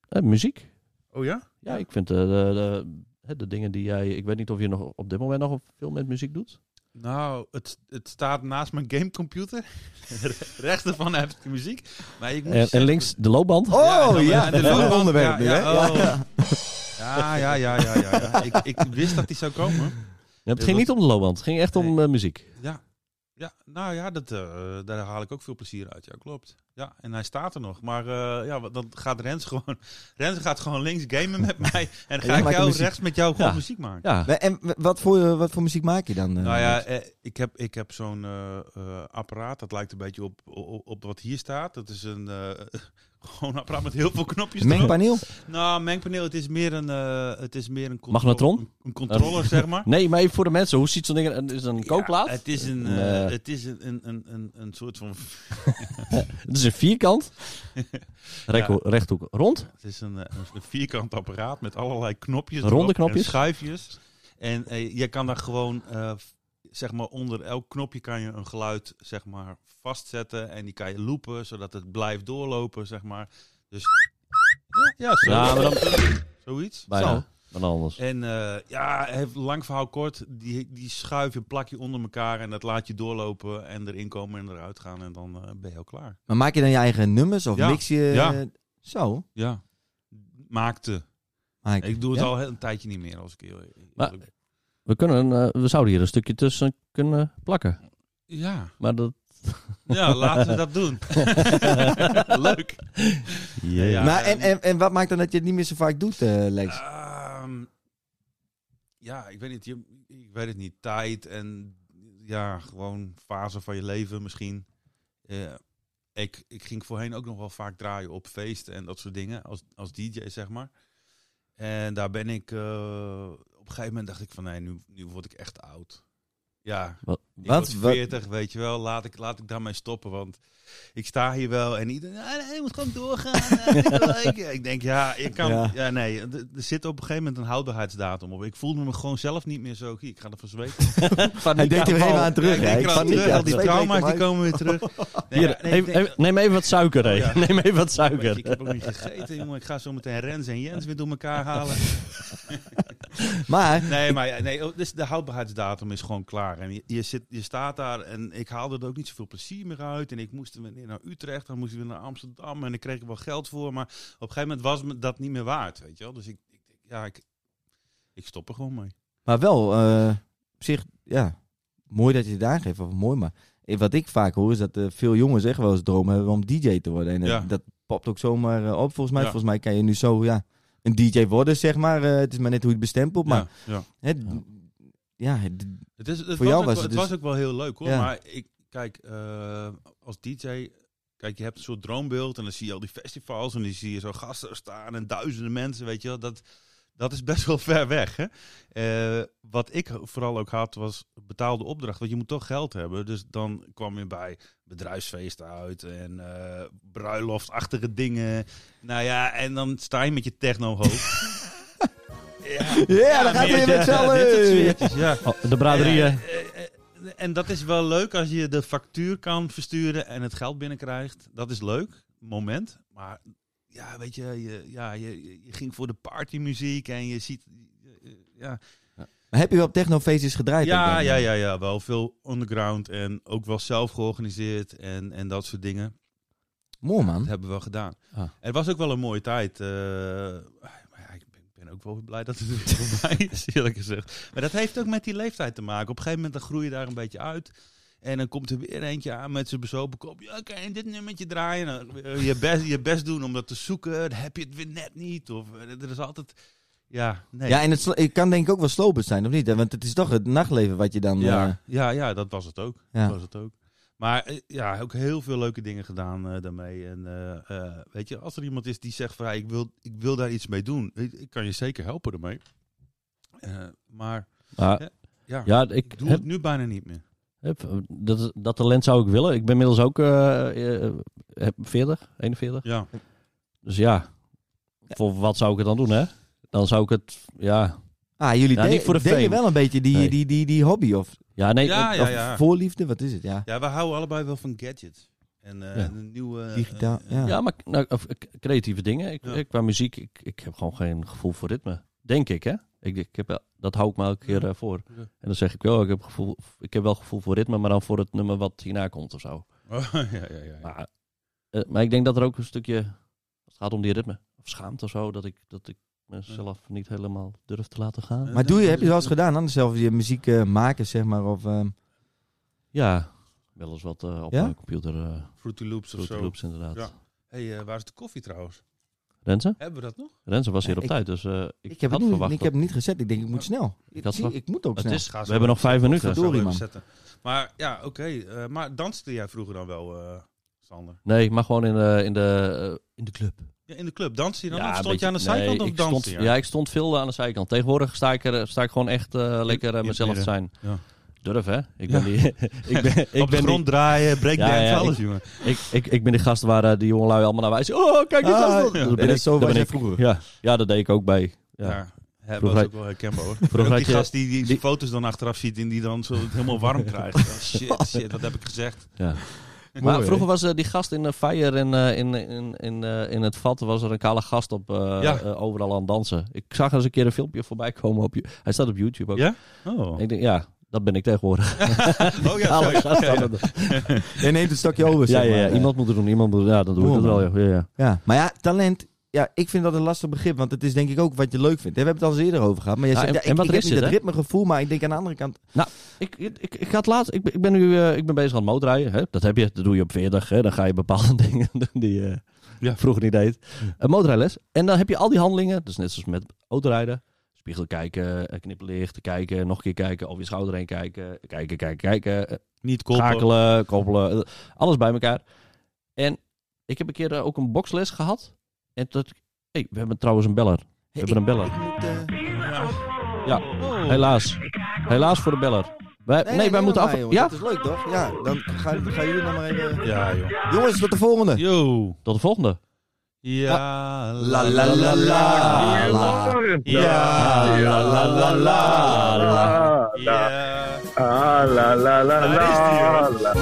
[SPEAKER 3] eh, muziek.
[SPEAKER 2] Oh ja?
[SPEAKER 3] Ja, ik vind eh, de, de, hè, de dingen die jij. Ik weet niet of je nog op dit moment nog veel met muziek doet.
[SPEAKER 2] Nou, het, het staat naast mijn gamecomputer. <laughs> Rechts ervan heb ik de muziek. Maar ik moet
[SPEAKER 3] En, en
[SPEAKER 2] zeggen-
[SPEAKER 3] links de loopband.
[SPEAKER 1] <laughs> Oh
[SPEAKER 2] ja,
[SPEAKER 1] ja,
[SPEAKER 2] de
[SPEAKER 1] dat
[SPEAKER 2] loopband,
[SPEAKER 1] een onderwerp
[SPEAKER 2] ja,
[SPEAKER 1] nu,
[SPEAKER 2] ja,
[SPEAKER 1] hè?
[SPEAKER 2] oh. Ja, ja, ja, ja. ja, ja. ik, ik wist dat die zou komen.
[SPEAKER 3] Ja, het ging niet om de loopband, het ging echt om eh, muziek.
[SPEAKER 2] Ja. Ja, nou ja, dat, eh, daar haal ik ook veel plezier uit. Ja, klopt. Ja, en hij staat er nog. Maar eh, ja, wat- dan gaat Rens gewoon... Rens gaat gewoon links gamen met mij. En dan
[SPEAKER 1] jij
[SPEAKER 2] ga ik
[SPEAKER 1] maakt
[SPEAKER 2] jou
[SPEAKER 1] muziek.
[SPEAKER 2] rechts met jou gewoon
[SPEAKER 3] Ja.
[SPEAKER 2] muziek maken.
[SPEAKER 3] Ja,
[SPEAKER 1] Maar En w- wat voor, eh, wat voor muziek maak je dan? eh,
[SPEAKER 2] Nou ja,
[SPEAKER 1] Lex?
[SPEAKER 2] eh, ik heb, ik heb zo'n eh, eh, apparaat, dat lijkt een beetje op, op, op wat hier staat. Dat is een eh, <laughs> gewoon een apparaat met heel veel knopjes
[SPEAKER 1] Een
[SPEAKER 2] erop.
[SPEAKER 1] Mengpaneel?
[SPEAKER 2] Nou, mengpaneel, het is meer een, eh, het is meer een contro-
[SPEAKER 3] Magnetron?
[SPEAKER 2] Een, een controller, zeg maar.
[SPEAKER 3] Nee, maar even voor de mensen, hoe ziet zo'n ding? eruit? Is het een kookplaat?
[SPEAKER 2] Ja, het is een, eh,
[SPEAKER 3] Eh.
[SPEAKER 2] het is een, een, een, een, een soort van,
[SPEAKER 3] Het is een <laughs> vierkant. Rekho- Rechthoek rond.
[SPEAKER 2] het is een, eh, een vierkant apparaat met allerlei knopjes,
[SPEAKER 3] Ronde
[SPEAKER 2] erop en
[SPEAKER 3] knopjes?
[SPEAKER 2] schuifjes. En eh, je kan daar gewoon, eh, zeg maar, onder elk knopje kan je een geluid, zeg maar, vastzetten en die kan je loopen, zodat het blijft doorlopen, zeg maar. Dus ja, zo.
[SPEAKER 3] Ja, maar dan
[SPEAKER 2] zoiets. Zo.
[SPEAKER 3] bijna. Dan anders.
[SPEAKER 2] En eh, ja, heeft lang verhaal kort. Die, die schuif je, plak je onder elkaar en dat laat je doorlopen en erin komen en eruit gaan en dan eh, ben je al klaar.
[SPEAKER 1] Maar maak je dan je eigen nummers of
[SPEAKER 2] Ja,
[SPEAKER 1] mix je?
[SPEAKER 2] ja.
[SPEAKER 1] eh, Zo.
[SPEAKER 2] Ja. Maakte.
[SPEAKER 1] Maar
[SPEAKER 2] Ik doe het
[SPEAKER 1] ja?
[SPEAKER 2] al een tijdje niet meer als ik heel eerlijk
[SPEAKER 3] Maar-
[SPEAKER 2] ben.
[SPEAKER 3] We, kunnen, eh, we zouden hier een stukje tussen kunnen plakken.
[SPEAKER 2] Ja.
[SPEAKER 3] Maar dat...
[SPEAKER 2] ja, laten we dat doen. Leuk. Ja.
[SPEAKER 1] maar en, en, en wat maakt dan dat je het niet meer zo vaak doet, eh, Lex?
[SPEAKER 2] Ehm, ja, ik weet niet. je- Ik weet het niet. Tijd en ja, gewoon fase van je leven misschien. Eh, ik, ik ging voorheen ook nog wel vaak draaien op feesten en dat soort dingen. Als, als DJ, zeg maar. En daar ben ik... eh, op een gegeven moment dacht ik van... Nee, nu, nu word ik echt oud. Ja,
[SPEAKER 3] Wat-
[SPEAKER 2] ik
[SPEAKER 1] wat-
[SPEAKER 2] word
[SPEAKER 1] wat-
[SPEAKER 2] 40, weet je wel. Laat ik, laat ik daarmee stoppen, want ik sta hier wel en iedereen, ah, nee, je moet gewoon doorgaan. eh, dit wil ik. ik denk, ja, ik kan, ja.
[SPEAKER 1] Ja.
[SPEAKER 2] nee, er er zit op een gegeven moment een houdbaarheidsdatum op. Ik voelde me gewoon zelf niet meer zo, hier, ik ga ervan zweten. Oh,
[SPEAKER 1] Hij denkt er weer even aan
[SPEAKER 2] Ja,
[SPEAKER 1] terug,
[SPEAKER 2] ik
[SPEAKER 1] hè?
[SPEAKER 2] denk
[SPEAKER 1] Ik
[SPEAKER 2] eraan
[SPEAKER 1] zat niet
[SPEAKER 2] terug,
[SPEAKER 1] ja,
[SPEAKER 2] al die
[SPEAKER 1] twee
[SPEAKER 2] trauma's
[SPEAKER 1] weken
[SPEAKER 2] die
[SPEAKER 1] maar-
[SPEAKER 2] komen weer
[SPEAKER 1] <laughs>
[SPEAKER 2] terug. Nee,
[SPEAKER 3] Hier,
[SPEAKER 2] ja, nee,
[SPEAKER 3] neem,
[SPEAKER 2] ik denk-
[SPEAKER 3] even- neem even wat suiker, hé.
[SPEAKER 2] Oh, ja.
[SPEAKER 3] Neem even wat
[SPEAKER 2] Weet je,
[SPEAKER 3] suiker.
[SPEAKER 2] ik heb ook niet gegeten, jongen. Ik ga zo meteen Rens en Jens weer door elkaar halen.
[SPEAKER 1] Maar,
[SPEAKER 2] Nee, maar ja, nee, oh, dus de houdbaarheidsdatum is gewoon klaar. En je, je, zit, je staat daar en ik haalde er ook niet zoveel plezier meer uit. En ik moest weer naar Utrecht, dan moest ik weer naar Amsterdam. En ik kreeg er wel geld voor. Maar op een gegeven moment was me dat niet meer waard, weet je wel. Dus ik, ik, ja, ik, ik stop er gewoon mee.
[SPEAKER 1] maar wel, eh, op zich, ja, mooi dat je het aangeeft. Of mooi, maar eh, wat ik vaak hoor is dat eh, veel jongens echt wel eens droom hebben om DJ te worden. En eh,
[SPEAKER 2] Ja.
[SPEAKER 1] dat popt ook zomaar eh, op, volgens mij.
[SPEAKER 2] Ja.
[SPEAKER 1] Volgens mij kan je nu zo, ja, een DJ worden, zeg maar. Eh, het is maar net hoe je het bestempelt, maar...
[SPEAKER 2] ja, ja.
[SPEAKER 1] Het, ja, het-
[SPEAKER 2] Het, is, het,
[SPEAKER 1] Voor
[SPEAKER 2] was,
[SPEAKER 1] jou was
[SPEAKER 2] ook,
[SPEAKER 1] het
[SPEAKER 2] wel- het
[SPEAKER 1] dus-
[SPEAKER 2] was ook wel heel leuk hoor.
[SPEAKER 1] Ja.
[SPEAKER 2] Maar ik, kijk, eh, als DJ. Kijk, je hebt een soort droombeeld en dan zie je al die festivals en dan zie je zo gasten staan en duizenden mensen, weet je wel. Dat, dat is best wel <laughs> ver weg. Hè? Eh, wat ik vooral ook had was betaalde opdracht, want je moet toch geld hebben. Dus dan kwam je bij bedrijfsfeesten uit en eh, bruiloftachtige dingen. Nou ja, en dan sta je met je techno-hoofd. ja,
[SPEAKER 1] <laughs> ja, dan gaat hij
[SPEAKER 2] weer
[SPEAKER 1] weer met z'n allen.
[SPEAKER 2] <laughs> Dit soort sfeertjes, ja.
[SPEAKER 3] Oh, de braderieën.
[SPEAKER 2] Eh, eh, eh, En dat is wel leuk als je de factuur kan versturen en het geld binnenkrijgt. Dat is leuk, moment. Maar ja, weet je, je, ja, je, je- je ging voor de partymuziek en je ziet... eh, eh, Ja,
[SPEAKER 1] Maar heb je wel op technofeestjes gedraaid? ook
[SPEAKER 2] ja,
[SPEAKER 1] dan?
[SPEAKER 2] ja, ja, ja, wel veel underground en ook wel zelf georganiseerd en, en dat soort dingen.
[SPEAKER 1] Mooi
[SPEAKER 2] Dat
[SPEAKER 1] man.
[SPEAKER 2] hebben we wel gedaan.
[SPEAKER 3] Ah.
[SPEAKER 2] Het was ook wel een mooie tijd. eh, maar ja, ik ben, ik ben ook wel blij dat het weer <laughs> voorbij is, eerlijk gezegd. Maar dat heeft ook met die leeftijd te maken. Op een gegeven moment dan groei je daar een beetje uit. En dan komt er weer eentje aan met zijn bezopen kop. Ja, kan je dit nummertje draaien? Nou, eh, je, best, je best doen om dat te zoeken. Dan heb je het weer net niet. Of eh, er is altijd... Ja, nee.
[SPEAKER 1] Ja, en het, sl- het kan denk ik ook wel slopend zijn, of niet? Eh, Want het is toch het nachtleven wat je dan... eh,
[SPEAKER 2] Ja, ja, ja, dat was het ook.
[SPEAKER 1] Ja.
[SPEAKER 2] Dat was het ook. Maar eh, ja, ook heel veel leuke dingen gedaan eh, daarmee. En eh, eh, weet je, als er iemand is die zegt van ja, ik, wil, ik wil daar iets mee doen, ik, ik kan je zeker helpen daarmee. Eh, maar
[SPEAKER 3] Maar,
[SPEAKER 2] ja.
[SPEAKER 3] ja, ik
[SPEAKER 2] ik doe
[SPEAKER 3] heb-
[SPEAKER 2] het nu bijna niet meer.
[SPEAKER 3] Hup, Dat, dat talent zou ik willen. Ik ben inmiddels ook eh, eh, heb 40, 41.
[SPEAKER 2] Ja.
[SPEAKER 3] Dus ja, voor wat zou ik het dan doen, hè? Dan zou ik het, ja...
[SPEAKER 1] Ah, jullie
[SPEAKER 3] Nou,
[SPEAKER 1] de-
[SPEAKER 3] niet voor de
[SPEAKER 1] delen
[SPEAKER 3] fame.
[SPEAKER 1] wel een beetje die,
[SPEAKER 3] Nee.
[SPEAKER 1] die, die, die hobby of,
[SPEAKER 3] Ja, nee,
[SPEAKER 2] Ja,
[SPEAKER 3] eh,
[SPEAKER 2] ja,
[SPEAKER 1] of
[SPEAKER 2] ja.
[SPEAKER 1] voorliefde, wat is het? Ja.
[SPEAKER 2] Ja, we houden allebei wel van gadgets. En eh,
[SPEAKER 3] Ja.
[SPEAKER 2] een nieuwe... eh,
[SPEAKER 1] Digitaal,
[SPEAKER 2] eh,
[SPEAKER 1] ja.
[SPEAKER 3] Ja, maar k- nou, of, eh, k- creatieve dingen. Ik,
[SPEAKER 2] Ja.
[SPEAKER 3] ik- qua muziek, ik, ik heb gewoon geen gevoel voor ritme. Denk ik, hè? Ik, ik heb, wel- dat hou ik me elke keer
[SPEAKER 2] Ja.
[SPEAKER 3] eh, voor.
[SPEAKER 2] Ja.
[SPEAKER 3] En dan zeg ik wel, ik heb, gevoel, ik heb wel gevoel voor ritme, maar dan voor het nummer wat hierna komt of
[SPEAKER 2] <laughs>
[SPEAKER 3] zo.
[SPEAKER 2] Oh, ja, ja, ja, ja.
[SPEAKER 3] Maar, eh, maar ik denk dat er ook een stukje, als het gaat om die ritme, of schaamte of zo, dat ik, dat ik mezelf niet helemaal durf te laten gaan.
[SPEAKER 1] Maar doe je, heb je wel eens gedaan, anders zelf je muziek eh, maken, zeg maar, of... ehm,
[SPEAKER 3] Ja, wel eens wat eh, op
[SPEAKER 1] Ja?
[SPEAKER 3] mijn computer, eh
[SPEAKER 2] Fruity Loops of
[SPEAKER 3] Fruity
[SPEAKER 2] zo.
[SPEAKER 3] Loops inderdaad.
[SPEAKER 2] Ja. Hé, eh, waar is de koffie trouwens?
[SPEAKER 3] Renze?
[SPEAKER 2] Hebben we dat nog?
[SPEAKER 3] Renze was hier
[SPEAKER 1] Ja,
[SPEAKER 3] op
[SPEAKER 1] ik-
[SPEAKER 3] tijd, dus eh, ik,
[SPEAKER 1] ik, heb
[SPEAKER 3] had
[SPEAKER 1] het niet,
[SPEAKER 3] verwacht...
[SPEAKER 1] ik heb het niet gezet, ik denk ik moet snel. Ik,
[SPEAKER 3] had
[SPEAKER 1] zie,
[SPEAKER 3] verwacht-
[SPEAKER 1] ik moet ook
[SPEAKER 3] dat- het
[SPEAKER 1] snel.
[SPEAKER 3] is,
[SPEAKER 2] Ga zo
[SPEAKER 3] we hebben nog vijf minuten.
[SPEAKER 2] Ga zo
[SPEAKER 1] Verdorie,
[SPEAKER 2] eh, even
[SPEAKER 1] man.
[SPEAKER 2] zetten. Maar ja, oké. eh, maar danste jij vroeger dan wel, eh, Sander?
[SPEAKER 3] Nee, maar gewoon in de, in de, eh, in de club.
[SPEAKER 2] Ja, in de club, danste je dan?
[SPEAKER 3] een
[SPEAKER 2] of stond
[SPEAKER 3] beetje-
[SPEAKER 2] je aan de
[SPEAKER 3] nee,
[SPEAKER 2] zijkant of
[SPEAKER 3] ik stond,
[SPEAKER 2] danste je?
[SPEAKER 3] Ja, ik stond veel eh, aan de zijkant. Tegenwoordig sta ik, er, sta ik gewoon echt eh, lekker
[SPEAKER 2] in
[SPEAKER 3] eh,
[SPEAKER 2] het
[SPEAKER 3] mezelf te zijn.
[SPEAKER 2] Ja.
[SPEAKER 3] Durf, hè? Ik
[SPEAKER 2] Ja.
[SPEAKER 3] ben die... <laughs> ik ben, ik
[SPEAKER 2] Op de
[SPEAKER 3] ben
[SPEAKER 2] grond draaien, breakdance,
[SPEAKER 3] Ja, ja,
[SPEAKER 2] alles, jongen.
[SPEAKER 3] Die, ik, ik, ik ben die gast waar eh, die jongelui allemaal naar wijzen. Oh, kijk, die
[SPEAKER 1] Ah,
[SPEAKER 3] gast.
[SPEAKER 1] ja.
[SPEAKER 3] Dat
[SPEAKER 1] Ja,
[SPEAKER 3] ben
[SPEAKER 1] dat
[SPEAKER 3] ik,
[SPEAKER 1] zo
[SPEAKER 3] dat
[SPEAKER 1] was
[SPEAKER 3] ben
[SPEAKER 1] jij
[SPEAKER 3] ik.
[SPEAKER 1] vroeger. <laughs>
[SPEAKER 3] Ja. ja, dat deed ik ook bij. Ja.
[SPEAKER 2] Ja. Hè,
[SPEAKER 3] Vroeger
[SPEAKER 2] dat is
[SPEAKER 3] had-
[SPEAKER 2] ook wel herkenbaar hoor.
[SPEAKER 3] Vroeger
[SPEAKER 2] Ook
[SPEAKER 3] had
[SPEAKER 2] die
[SPEAKER 3] je-
[SPEAKER 2] gast die, die,
[SPEAKER 3] die-
[SPEAKER 2] foto's dan achteraf ziet en die dan zo het helemaal
[SPEAKER 3] <laughs>
[SPEAKER 2] warm krijgt. Oh, shit, shit, wat heb ik gezegd?
[SPEAKER 3] Ja.
[SPEAKER 1] Mooi,
[SPEAKER 3] maar
[SPEAKER 1] hè?
[SPEAKER 3] vroeger was eh, die gast in de fire en eh, in, in, in, eh, in het vat was er een kale gast op eh,
[SPEAKER 2] Ja.
[SPEAKER 3] eh, overal aan het dansen. Ik zag eens een keer een filmpje voorbij komen op you- Hij staat op YouTube ook.
[SPEAKER 2] Ja? Oh,
[SPEAKER 3] Ik denk, ja, dat ben ik <laughs> tegenwoordig.
[SPEAKER 2] oh ja,
[SPEAKER 3] Kale
[SPEAKER 2] sorry.
[SPEAKER 3] gast aan het-
[SPEAKER 1] Jij neemt het stukje over,
[SPEAKER 3] Ja,
[SPEAKER 1] zeg
[SPEAKER 3] ja,
[SPEAKER 1] maar.
[SPEAKER 3] ja, iemand moet het doen. Iemand moet, ja, dan doe ik
[SPEAKER 1] Doe
[SPEAKER 3] dat
[SPEAKER 1] hem,
[SPEAKER 3] wel. Ja. Ja, ja.
[SPEAKER 1] Ja, maar ja, talent. Ja, ik vind dat een lastig begrip, want het is denk ik ook wat je leuk vindt. We hebben het al eens eerder over gehad, maar jij
[SPEAKER 3] Ja,
[SPEAKER 1] zegt,
[SPEAKER 3] en-
[SPEAKER 1] ja,
[SPEAKER 3] en
[SPEAKER 1] ik,
[SPEAKER 3] wat
[SPEAKER 1] ik
[SPEAKER 3] er
[SPEAKER 1] heb
[SPEAKER 3] is
[SPEAKER 1] niet
[SPEAKER 3] zit,
[SPEAKER 1] dat ritmegevoel, maar ik denk aan de andere kant,
[SPEAKER 3] Ik, ik, ik, ik had laatst, ik, ben- ik ben nu eh, ik ben bezig aan het motorrijden. Hè? Dat heb je, dat doe je op 40. Hè? Dan ga je bepaalde <laughs> dingen doen die je
[SPEAKER 2] Ja.
[SPEAKER 3] vroeger niet deed. Een motorrijles. En dan heb je al die handelingen. Dus net zoals met autorijden. Spiegel kijken, eh, knipperlicht kijken, nog een keer kijken, over je schouder heen kijken, kijken, kijken, kijken, eh,
[SPEAKER 2] Niet koppelen.
[SPEAKER 3] schakelen, koppelen, eh, alles bij elkaar. En ik heb een keer eh, ook een boxles gehad. En dat, hey, we hebben trouwens een beller. We hebben een beller.
[SPEAKER 1] ik moet... eh,
[SPEAKER 3] Ja, helaas. Helaas voor de beller. Wij, nee, wij
[SPEAKER 1] neem
[SPEAKER 3] moeten
[SPEAKER 1] maar,
[SPEAKER 3] af...
[SPEAKER 1] jongen.
[SPEAKER 3] ja,
[SPEAKER 1] Dat is leuk, toch? Ja, dan gaan, gaan jullie nog maar even...
[SPEAKER 2] Ja, joh.
[SPEAKER 1] Jongens, tot de volgende.
[SPEAKER 2] Yo.
[SPEAKER 3] tot de volgende.
[SPEAKER 2] Ja.
[SPEAKER 3] Ah.
[SPEAKER 1] La la la la la.
[SPEAKER 2] Ja.
[SPEAKER 1] La la la la la.
[SPEAKER 2] Ja.
[SPEAKER 6] Ah, la la la
[SPEAKER 2] Daar
[SPEAKER 6] la.
[SPEAKER 2] is die, hoor.
[SPEAKER 6] la.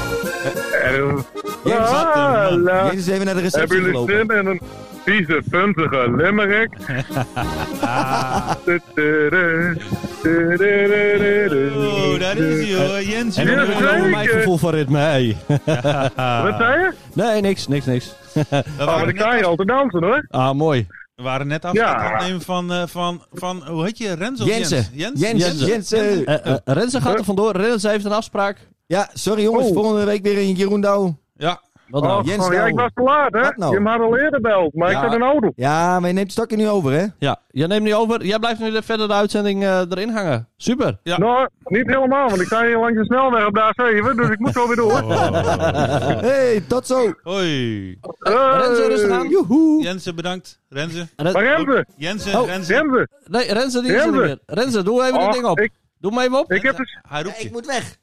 [SPEAKER 6] Er-
[SPEAKER 1] Jezus,
[SPEAKER 2] wat een
[SPEAKER 6] Ah,
[SPEAKER 2] man.
[SPEAKER 6] la.
[SPEAKER 1] Jezus is even naar de
[SPEAKER 6] Hebben
[SPEAKER 1] receptie
[SPEAKER 6] jullie
[SPEAKER 1] gelopen.
[SPEAKER 6] zin in een vieze, puntige limerick? Tududu, tududududu.
[SPEAKER 2] Oh, daar is hij hoor, Jens.
[SPEAKER 6] En dan-
[SPEAKER 2] jongen.
[SPEAKER 6] Ja, zeker.
[SPEAKER 3] mijn gevoel voor ritme, hey.
[SPEAKER 6] Wat zei je?
[SPEAKER 3] Nee, niks, niks, niks.
[SPEAKER 2] We
[SPEAKER 6] Oh, maar
[SPEAKER 2] waren
[SPEAKER 6] dan
[SPEAKER 2] net,
[SPEAKER 6] kan je al te dansen hoor.
[SPEAKER 3] Ah, mooi.
[SPEAKER 2] we waren net af
[SPEAKER 6] Ja.
[SPEAKER 2] aan het opnemen van, eh, van, van, hoe heet je, Rens of Jens?
[SPEAKER 1] Jensen.
[SPEAKER 2] Jens?
[SPEAKER 1] Jensen.
[SPEAKER 3] Jensen.
[SPEAKER 1] Jensen.
[SPEAKER 3] Eh eh, Renze gaat er vandoor. Renze heeft een afspraak.
[SPEAKER 1] Ja, sorry jongens,
[SPEAKER 6] Oh.
[SPEAKER 1] volgende week weer in Jeroen Douw.
[SPEAKER 2] Ja.
[SPEAKER 3] Wat
[SPEAKER 6] Oh,
[SPEAKER 3] nou?
[SPEAKER 1] Jens
[SPEAKER 6] oh, ja,
[SPEAKER 1] nou.
[SPEAKER 6] ik was te laat hè.
[SPEAKER 1] Wat nou?
[SPEAKER 6] Je had al eerder beld, maar
[SPEAKER 3] Ja.
[SPEAKER 6] ik had een auto.
[SPEAKER 1] Ja, maar je neemt het stokje nu over, <laughs> hè?
[SPEAKER 3] Ja, jij neemt nu over. Jij blijft nu de- verder de uitzending eh, erin hangen. Super.
[SPEAKER 2] Ja.
[SPEAKER 6] Nou, niet helemaal, want ik sta hier langs de snelweg op de A7, dus ik moet zo weer door.
[SPEAKER 2] Oh.
[SPEAKER 1] Hey, tot zo.
[SPEAKER 2] Hoi.
[SPEAKER 6] Hey.
[SPEAKER 3] Renze, rustig aan.
[SPEAKER 1] Joehoe.
[SPEAKER 2] Jensen, bedankt. Renze.
[SPEAKER 3] Ren-
[SPEAKER 6] Maar Remze,
[SPEAKER 2] Jensen,
[SPEAKER 3] Oh,
[SPEAKER 2] Renze.
[SPEAKER 6] Remze,
[SPEAKER 3] nee, Renze, die is er niet
[SPEAKER 6] Renze.
[SPEAKER 3] meer. Renze, doe even
[SPEAKER 6] Oh,
[SPEAKER 3] dit ding op.
[SPEAKER 6] ik-
[SPEAKER 3] Doe hem even op.
[SPEAKER 6] ik heb, dus-
[SPEAKER 2] Hij roept
[SPEAKER 1] Ik
[SPEAKER 2] je.
[SPEAKER 1] moet weg.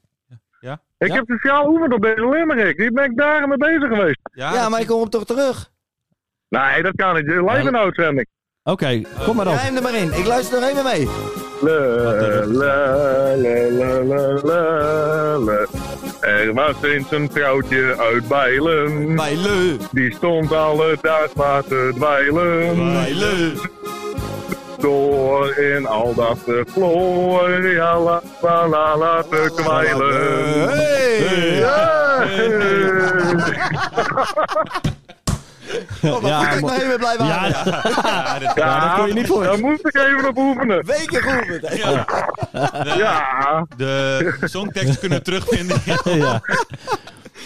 [SPEAKER 6] ik
[SPEAKER 3] Ja.
[SPEAKER 6] heb speciaal oefend op deze limerick. Die ben ik dagen mee bezig geweest.
[SPEAKER 1] Ja,
[SPEAKER 2] dat
[SPEAKER 1] maar ik kom op toch terug.
[SPEAKER 6] Nee, dat kan niet. Je nou, Live
[SPEAKER 3] Nou.
[SPEAKER 6] een uitzending.
[SPEAKER 3] Oké, kom maar
[SPEAKER 1] Jij
[SPEAKER 3] op.
[SPEAKER 1] hem er maar in. Ik luister er even mee.
[SPEAKER 6] Le, le, le, le, le, le, le. Er was eens een vrouwtje uit Bijlen.
[SPEAKER 1] Bij Leu.
[SPEAKER 6] Die stond alle dag maar te dweilen.
[SPEAKER 1] Bij Leu.
[SPEAKER 6] Door in al dat vloor. Ja, la, la, la, la, te
[SPEAKER 3] <laughs>
[SPEAKER 6] kwijlen.
[SPEAKER 1] Hey.
[SPEAKER 6] Ja.
[SPEAKER 1] Oh, maar
[SPEAKER 3] Ja,
[SPEAKER 1] moet ik
[SPEAKER 3] maar-
[SPEAKER 1] nog even blijven
[SPEAKER 3] Ja,
[SPEAKER 1] hangen?
[SPEAKER 6] Ja,
[SPEAKER 3] kon je niet voor.
[SPEAKER 6] Daar moest ik even op oefenen.
[SPEAKER 1] Weken goed.
[SPEAKER 6] Ja.
[SPEAKER 2] De songtekst
[SPEAKER 1] <laughs>
[SPEAKER 2] kunnen terugvinden.
[SPEAKER 3] ja.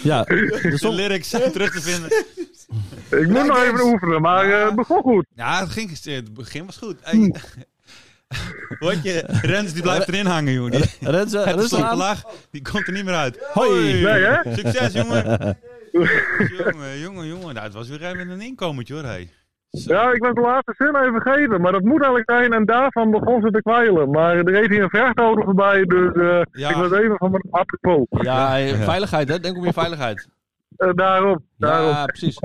[SPEAKER 3] ja.
[SPEAKER 2] De lyrics zijn terug te vinden.
[SPEAKER 6] Ik moet nog even oefenen, maar eh, het begon goed.
[SPEAKER 2] Ja, het, ging, het begin was goed. Hey. Hoort je, Rens die blijft erin hangen, jongen. Die,
[SPEAKER 3] Renze,
[SPEAKER 2] het is
[SPEAKER 3] rustig
[SPEAKER 2] een
[SPEAKER 3] aan.
[SPEAKER 2] laag, die komt er niet meer uit.
[SPEAKER 3] Hoi.
[SPEAKER 6] Nee, hè? <laughs>
[SPEAKER 2] Succes, jongen. jongen, jongen, jongen. Nou, het was weer even een inkomertje, hoor. Hey.
[SPEAKER 6] Ja, ik was de laatste zin even vergeten, maar dat moet eigenlijk zijn. En daarvan begon ze te kwijlen. Maar er reed hier een vrachtauto voorbij, dus eh,
[SPEAKER 2] Ja.
[SPEAKER 6] ik was even van mijn apropos.
[SPEAKER 3] Ja, eh, veiligheid, hè? Denk om je veiligheid.
[SPEAKER 6] Eh, daarom, daarom.
[SPEAKER 3] Ja, precies.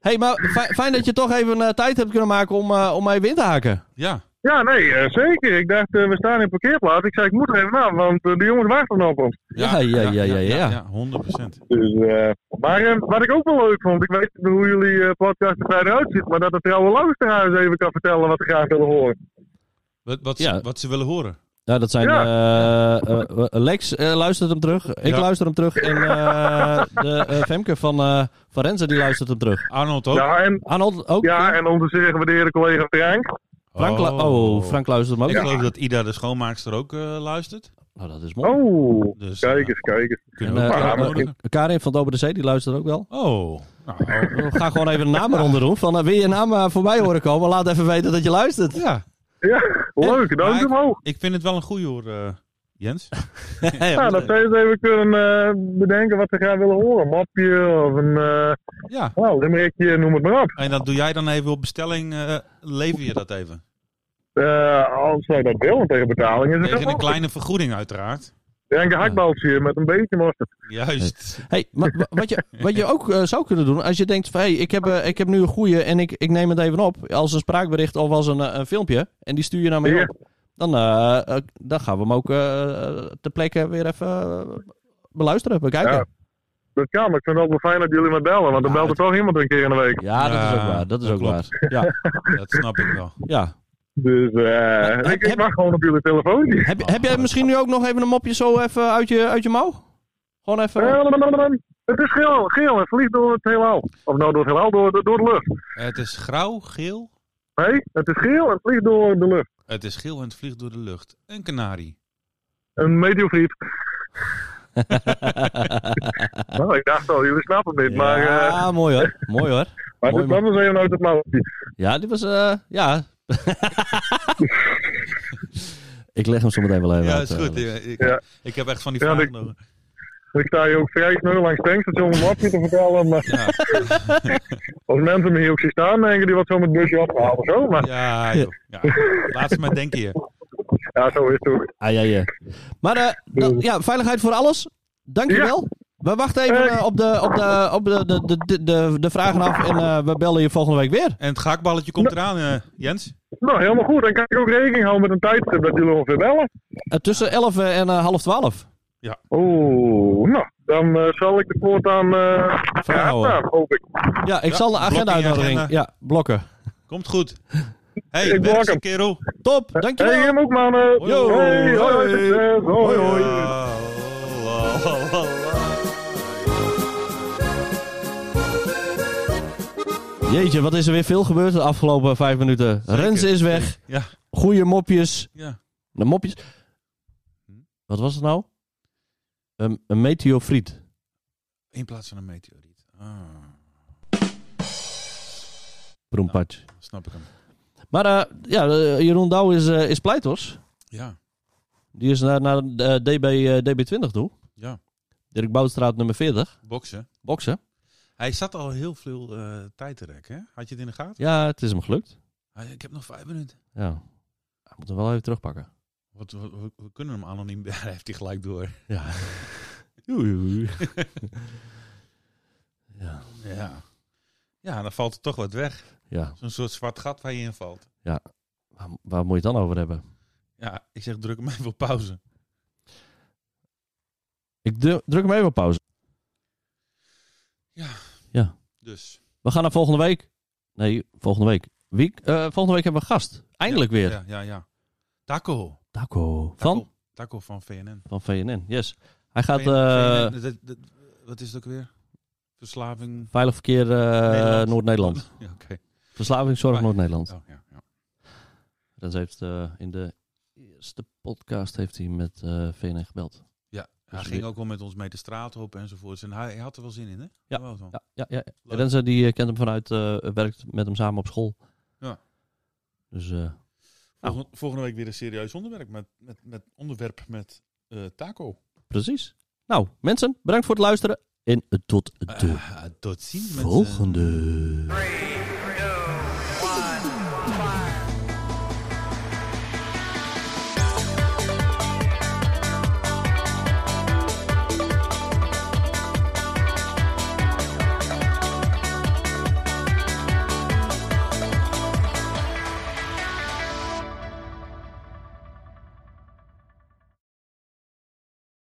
[SPEAKER 3] hey, maar fi- fijn dat je toch even eh, tijd hebt kunnen maken om, eh, om mij win te haken.
[SPEAKER 2] Ja,
[SPEAKER 6] Ja, nee, eh, zeker. Ik dacht, eh, we staan in een parkeerplaats. Ik zei, ik moet er even naar, want eh, de jongens wachten op ons.
[SPEAKER 3] Ja, ja, ja, ja, ja.
[SPEAKER 2] 100%.
[SPEAKER 6] Dus, eh, maar eh, wat ik ook wel leuk vond, ik weet niet hoe jullie eh, podcast er verder uitziet, maar dat de trouwe luisteraars even kan vertellen wat ze graag willen horen.
[SPEAKER 2] Wat, wat,
[SPEAKER 3] Ja.
[SPEAKER 2] Ze, wat ze willen horen.
[SPEAKER 3] Ja, dat zijn... eh, eh, eh, Lex eh, luistert hem terug. Ik
[SPEAKER 2] Ja.
[SPEAKER 3] luister hem terug. En eh, de, eh, Femke van, eh van Renze, die luistert hem terug.
[SPEAKER 2] Arnold ook.
[SPEAKER 6] Ja, en,
[SPEAKER 3] Arnold ook?
[SPEAKER 6] ja, en onze zeer gewaardeerde collega Frank.
[SPEAKER 3] Frank lu- oh. Frank luistert hem ook.
[SPEAKER 2] Ik geloof dat Ida de schoonmaakster ook eh, luistert.
[SPEAKER 3] Nou, dat is mooi.
[SPEAKER 6] Oh,
[SPEAKER 2] Dus,
[SPEAKER 6] kijk
[SPEAKER 2] eh,
[SPEAKER 6] eens, kijk eens.
[SPEAKER 3] En,
[SPEAKER 2] kunnen we
[SPEAKER 3] eh,
[SPEAKER 2] elkaar
[SPEAKER 6] Ja, maar-
[SPEAKER 2] uitnodigen?
[SPEAKER 3] Karin van Dober de Zee, die luistert ook wel.
[SPEAKER 2] Oh, nou,
[SPEAKER 3] We gaan gewoon even de naam eronder doen. Van, eh, wil je naam eh, voorbij horen komen? Laat even weten dat je luistert.
[SPEAKER 2] ja.
[SPEAKER 6] Ja, <laughs> leuk, dank
[SPEAKER 2] Maar-
[SPEAKER 6] je wel.
[SPEAKER 2] Ik vind het wel een goeie hoor, eh, Jens.
[SPEAKER 6] Ja, dat ze eens even kunnen eh, bedenken wat ze graag willen horen. Een mapje of een eh
[SPEAKER 2] Ja.
[SPEAKER 6] nou, limmerikje, noem het maar op.
[SPEAKER 2] En dat doe jij dan even op bestelling, eh, lever je dat even.
[SPEAKER 6] Eh, als zij dat willen tegen betaling is het
[SPEAKER 2] Tegen
[SPEAKER 6] wel
[SPEAKER 2] een kleine vergoeding uiteraard.
[SPEAKER 6] Ja, een gehaktbaltje met een beetje mosterd.
[SPEAKER 2] Juist.
[SPEAKER 3] Hey, maar wa- wat je, wat je ook eh, zou kunnen doen, als je denkt van hey, ik heb, eh, ik heb nu een goeie en ik, ik neem het even op. Als een spraakbericht of als een, eh, een filmpje. En die stuur je naar mij
[SPEAKER 6] Ja.
[SPEAKER 3] op. Dan, eh, eh, dan gaan we hem ook eh ter plekke weer even eh, beluisteren, bekijken.
[SPEAKER 6] Dat kan, maar ik vind het altijd wel fijn dat jullie me bellen, want dan
[SPEAKER 3] Ja,
[SPEAKER 6] belt er toch iemand een keer in de week.
[SPEAKER 3] Ja, dat is ook waar. Dat is
[SPEAKER 2] dat
[SPEAKER 3] ook
[SPEAKER 2] klopt.
[SPEAKER 3] waar. Ja,
[SPEAKER 2] Dat snap ik wel.
[SPEAKER 3] ja.
[SPEAKER 6] Dus eh
[SPEAKER 3] heb-
[SPEAKER 6] ik, ik
[SPEAKER 3] heb-
[SPEAKER 6] wacht gewoon op jullie
[SPEAKER 3] <laughs>
[SPEAKER 6] telefoontje.
[SPEAKER 3] Heb, heb jij misschien nu ook nog even een mopje zo even uit je, uit je mouw? Gewoon
[SPEAKER 6] Eh,
[SPEAKER 3] even...
[SPEAKER 6] Het is geel, geel en verlies door het heelal. Of nou, door het heelal, door, door de lucht.
[SPEAKER 2] Het is grauw, geel.
[SPEAKER 6] Nee, het is geel en verlies door de lucht.
[SPEAKER 2] Het is geel en het vliegt door de lucht. Een kanarie.
[SPEAKER 6] Een meteoriet. nou, ik dacht al, jullie snappen het niet, maar, eh
[SPEAKER 3] Ja, mooi hoor. Mooi hoor.
[SPEAKER 6] maar
[SPEAKER 3] mooi,
[SPEAKER 6] dit kwam dus even uit het mouwtje.
[SPEAKER 3] Ja, dit was. eh, ja. <laughs> ik leg hem zometeen wel even
[SPEAKER 2] Ja,
[SPEAKER 3] uit.
[SPEAKER 2] is goed.
[SPEAKER 3] eh,
[SPEAKER 2] Ja, Ik,
[SPEAKER 6] Ja.
[SPEAKER 2] ik heb echt van die
[SPEAKER 6] Ja,
[SPEAKER 2] vragen
[SPEAKER 6] dat-
[SPEAKER 2] nodig.
[SPEAKER 6] Ik sta hier ook vrij snel langs het tankstation om wat te vertellen, maar
[SPEAKER 2] Ja,
[SPEAKER 6] <laughs> als mensen me hier ook zien staan, denken die wat zo met het busje afgehaald of zo, maar
[SPEAKER 2] ja, joh. ja.
[SPEAKER 6] <laughs>
[SPEAKER 2] Laat ze maar denken hier.
[SPEAKER 6] ja, zo is het ook.
[SPEAKER 3] Ah, ja, ja. Maar eh, dan- ja, veiligheid voor alles. Dankjewel. We wachten even eh, op, de, op, de, op de, de, de- de, de, de vragen af en eh, we bellen je volgende week weer.
[SPEAKER 2] En het gehaktballetje komt eraan, eh, Jens.
[SPEAKER 6] Nou, helemaal goed. Dan kan ik ook rekening houden met een tijdstip dat jullie ongeveer bellen.
[SPEAKER 3] Eh, tussen 11 en eh, half 12.
[SPEAKER 6] Oeh, nou, dan eh, zal ik de voortaan eh
[SPEAKER 3] houden.
[SPEAKER 6] aanstaan, hoop ik.
[SPEAKER 3] Ja, ik
[SPEAKER 2] Ja,
[SPEAKER 3] zal de agenda
[SPEAKER 2] blok in je
[SPEAKER 3] uitnodigen.
[SPEAKER 2] agenda.
[SPEAKER 3] Ja, blokken.
[SPEAKER 2] Komt goed. hey,
[SPEAKER 6] Ik
[SPEAKER 2] werk
[SPEAKER 6] blok
[SPEAKER 2] ze,
[SPEAKER 6] hem.
[SPEAKER 2] kerel.
[SPEAKER 3] Top,
[SPEAKER 6] Hé,
[SPEAKER 3] dankjewel.
[SPEAKER 6] hey, hem ook, man.
[SPEAKER 2] Yo, hoi.
[SPEAKER 6] hey, hoi, succes. hoi, hoi.
[SPEAKER 2] Ja, la, la, la, la.
[SPEAKER 3] Jeetje, wat is er weer veel gebeurd de afgelopen vijf minuten.
[SPEAKER 2] Zeker.
[SPEAKER 3] Rens is weg.
[SPEAKER 2] Ja.
[SPEAKER 3] Goeie mopjes.
[SPEAKER 2] Ja.
[SPEAKER 3] De mopjes. Wat was het nou? Een, een meteofriet.
[SPEAKER 2] In plaats van een meteoriet. Ah,
[SPEAKER 3] Broempatje.
[SPEAKER 2] snap ik hem.
[SPEAKER 3] Maar eh, ja, eh, Jeroen Douw is, eh, is pleiters.
[SPEAKER 2] Ja,
[SPEAKER 3] Die is naar, naar eh, DB, eh, DB20 toe.
[SPEAKER 2] Ja.
[SPEAKER 3] Dirk Boutstraat nummer 40.
[SPEAKER 2] boksen.
[SPEAKER 3] Boksen.
[SPEAKER 2] Hij zat al heel veel eh, tijd te rekken. hè? Had je het in de gaten?
[SPEAKER 3] Ja, het is hem gelukt.
[SPEAKER 2] Ah, ik heb nog vijf minuten.
[SPEAKER 3] Ja. Hij moet hem wel even terugpakken.
[SPEAKER 2] Wat, wat- wat- we kunnen hem anoniem. <laughs> Ja, heeft hij gelijk door.
[SPEAKER 3] Ja. ja.
[SPEAKER 2] Ja. Ja, dan valt er toch wat weg.
[SPEAKER 3] Ja.
[SPEAKER 2] Zo'n soort zwart gat waar je in valt.
[SPEAKER 3] Waar, waar moet je het dan over hebben?
[SPEAKER 2] Ja, ik zeg druk hem even op pauze.
[SPEAKER 3] Ik dru- druk hem even op pauze.
[SPEAKER 2] Dus.
[SPEAKER 3] We gaan naar volgende week. Nee, volgende week. Week, eh, volgende week hebben we een gast. Eindelijk weer.
[SPEAKER 2] Ja, ja, ja. Taco.
[SPEAKER 3] Taco. Van?
[SPEAKER 2] Taco. Taco van VNN.
[SPEAKER 3] Van VNN, yes. Hij gaat
[SPEAKER 2] VNN,
[SPEAKER 3] eh,
[SPEAKER 2] dat- dat- wat is het ook weer? Verslaving.
[SPEAKER 3] veilig verkeer eh,
[SPEAKER 2] Nederland.
[SPEAKER 3] Noord-Nederland.
[SPEAKER 2] <laughs> Ja, oké.
[SPEAKER 3] Verslavingszorg
[SPEAKER 2] Maar-
[SPEAKER 3] Noord-Nederland.
[SPEAKER 2] Oh, ja, ja.
[SPEAKER 3] Dat heeft eh, in de eerste podcast heeft hij met eh VNN gebeld.
[SPEAKER 2] Hij
[SPEAKER 3] Dus
[SPEAKER 2] ging
[SPEAKER 3] we-
[SPEAKER 2] ook wel met ons mee de straat op enzovoorts. En hij, hij had er wel zin in, hè?
[SPEAKER 3] Ja,
[SPEAKER 2] Hij wou het wel.
[SPEAKER 3] Ja, ja, ja.
[SPEAKER 2] Leuk.
[SPEAKER 3] Renze die eh, kent hem vanuit, eh, werkt met hem samen op school.
[SPEAKER 2] Ja.
[SPEAKER 3] Dus eh,
[SPEAKER 2] Volgende, volgende week weer een serieus onderwerp met, met, met onderwerp met eh, Taco.
[SPEAKER 3] precies. Nou, mensen, bedankt voor het luisteren. En tot de
[SPEAKER 2] Ah, tot ziens, mensen.
[SPEAKER 3] volgende.
[SPEAKER 7] Three,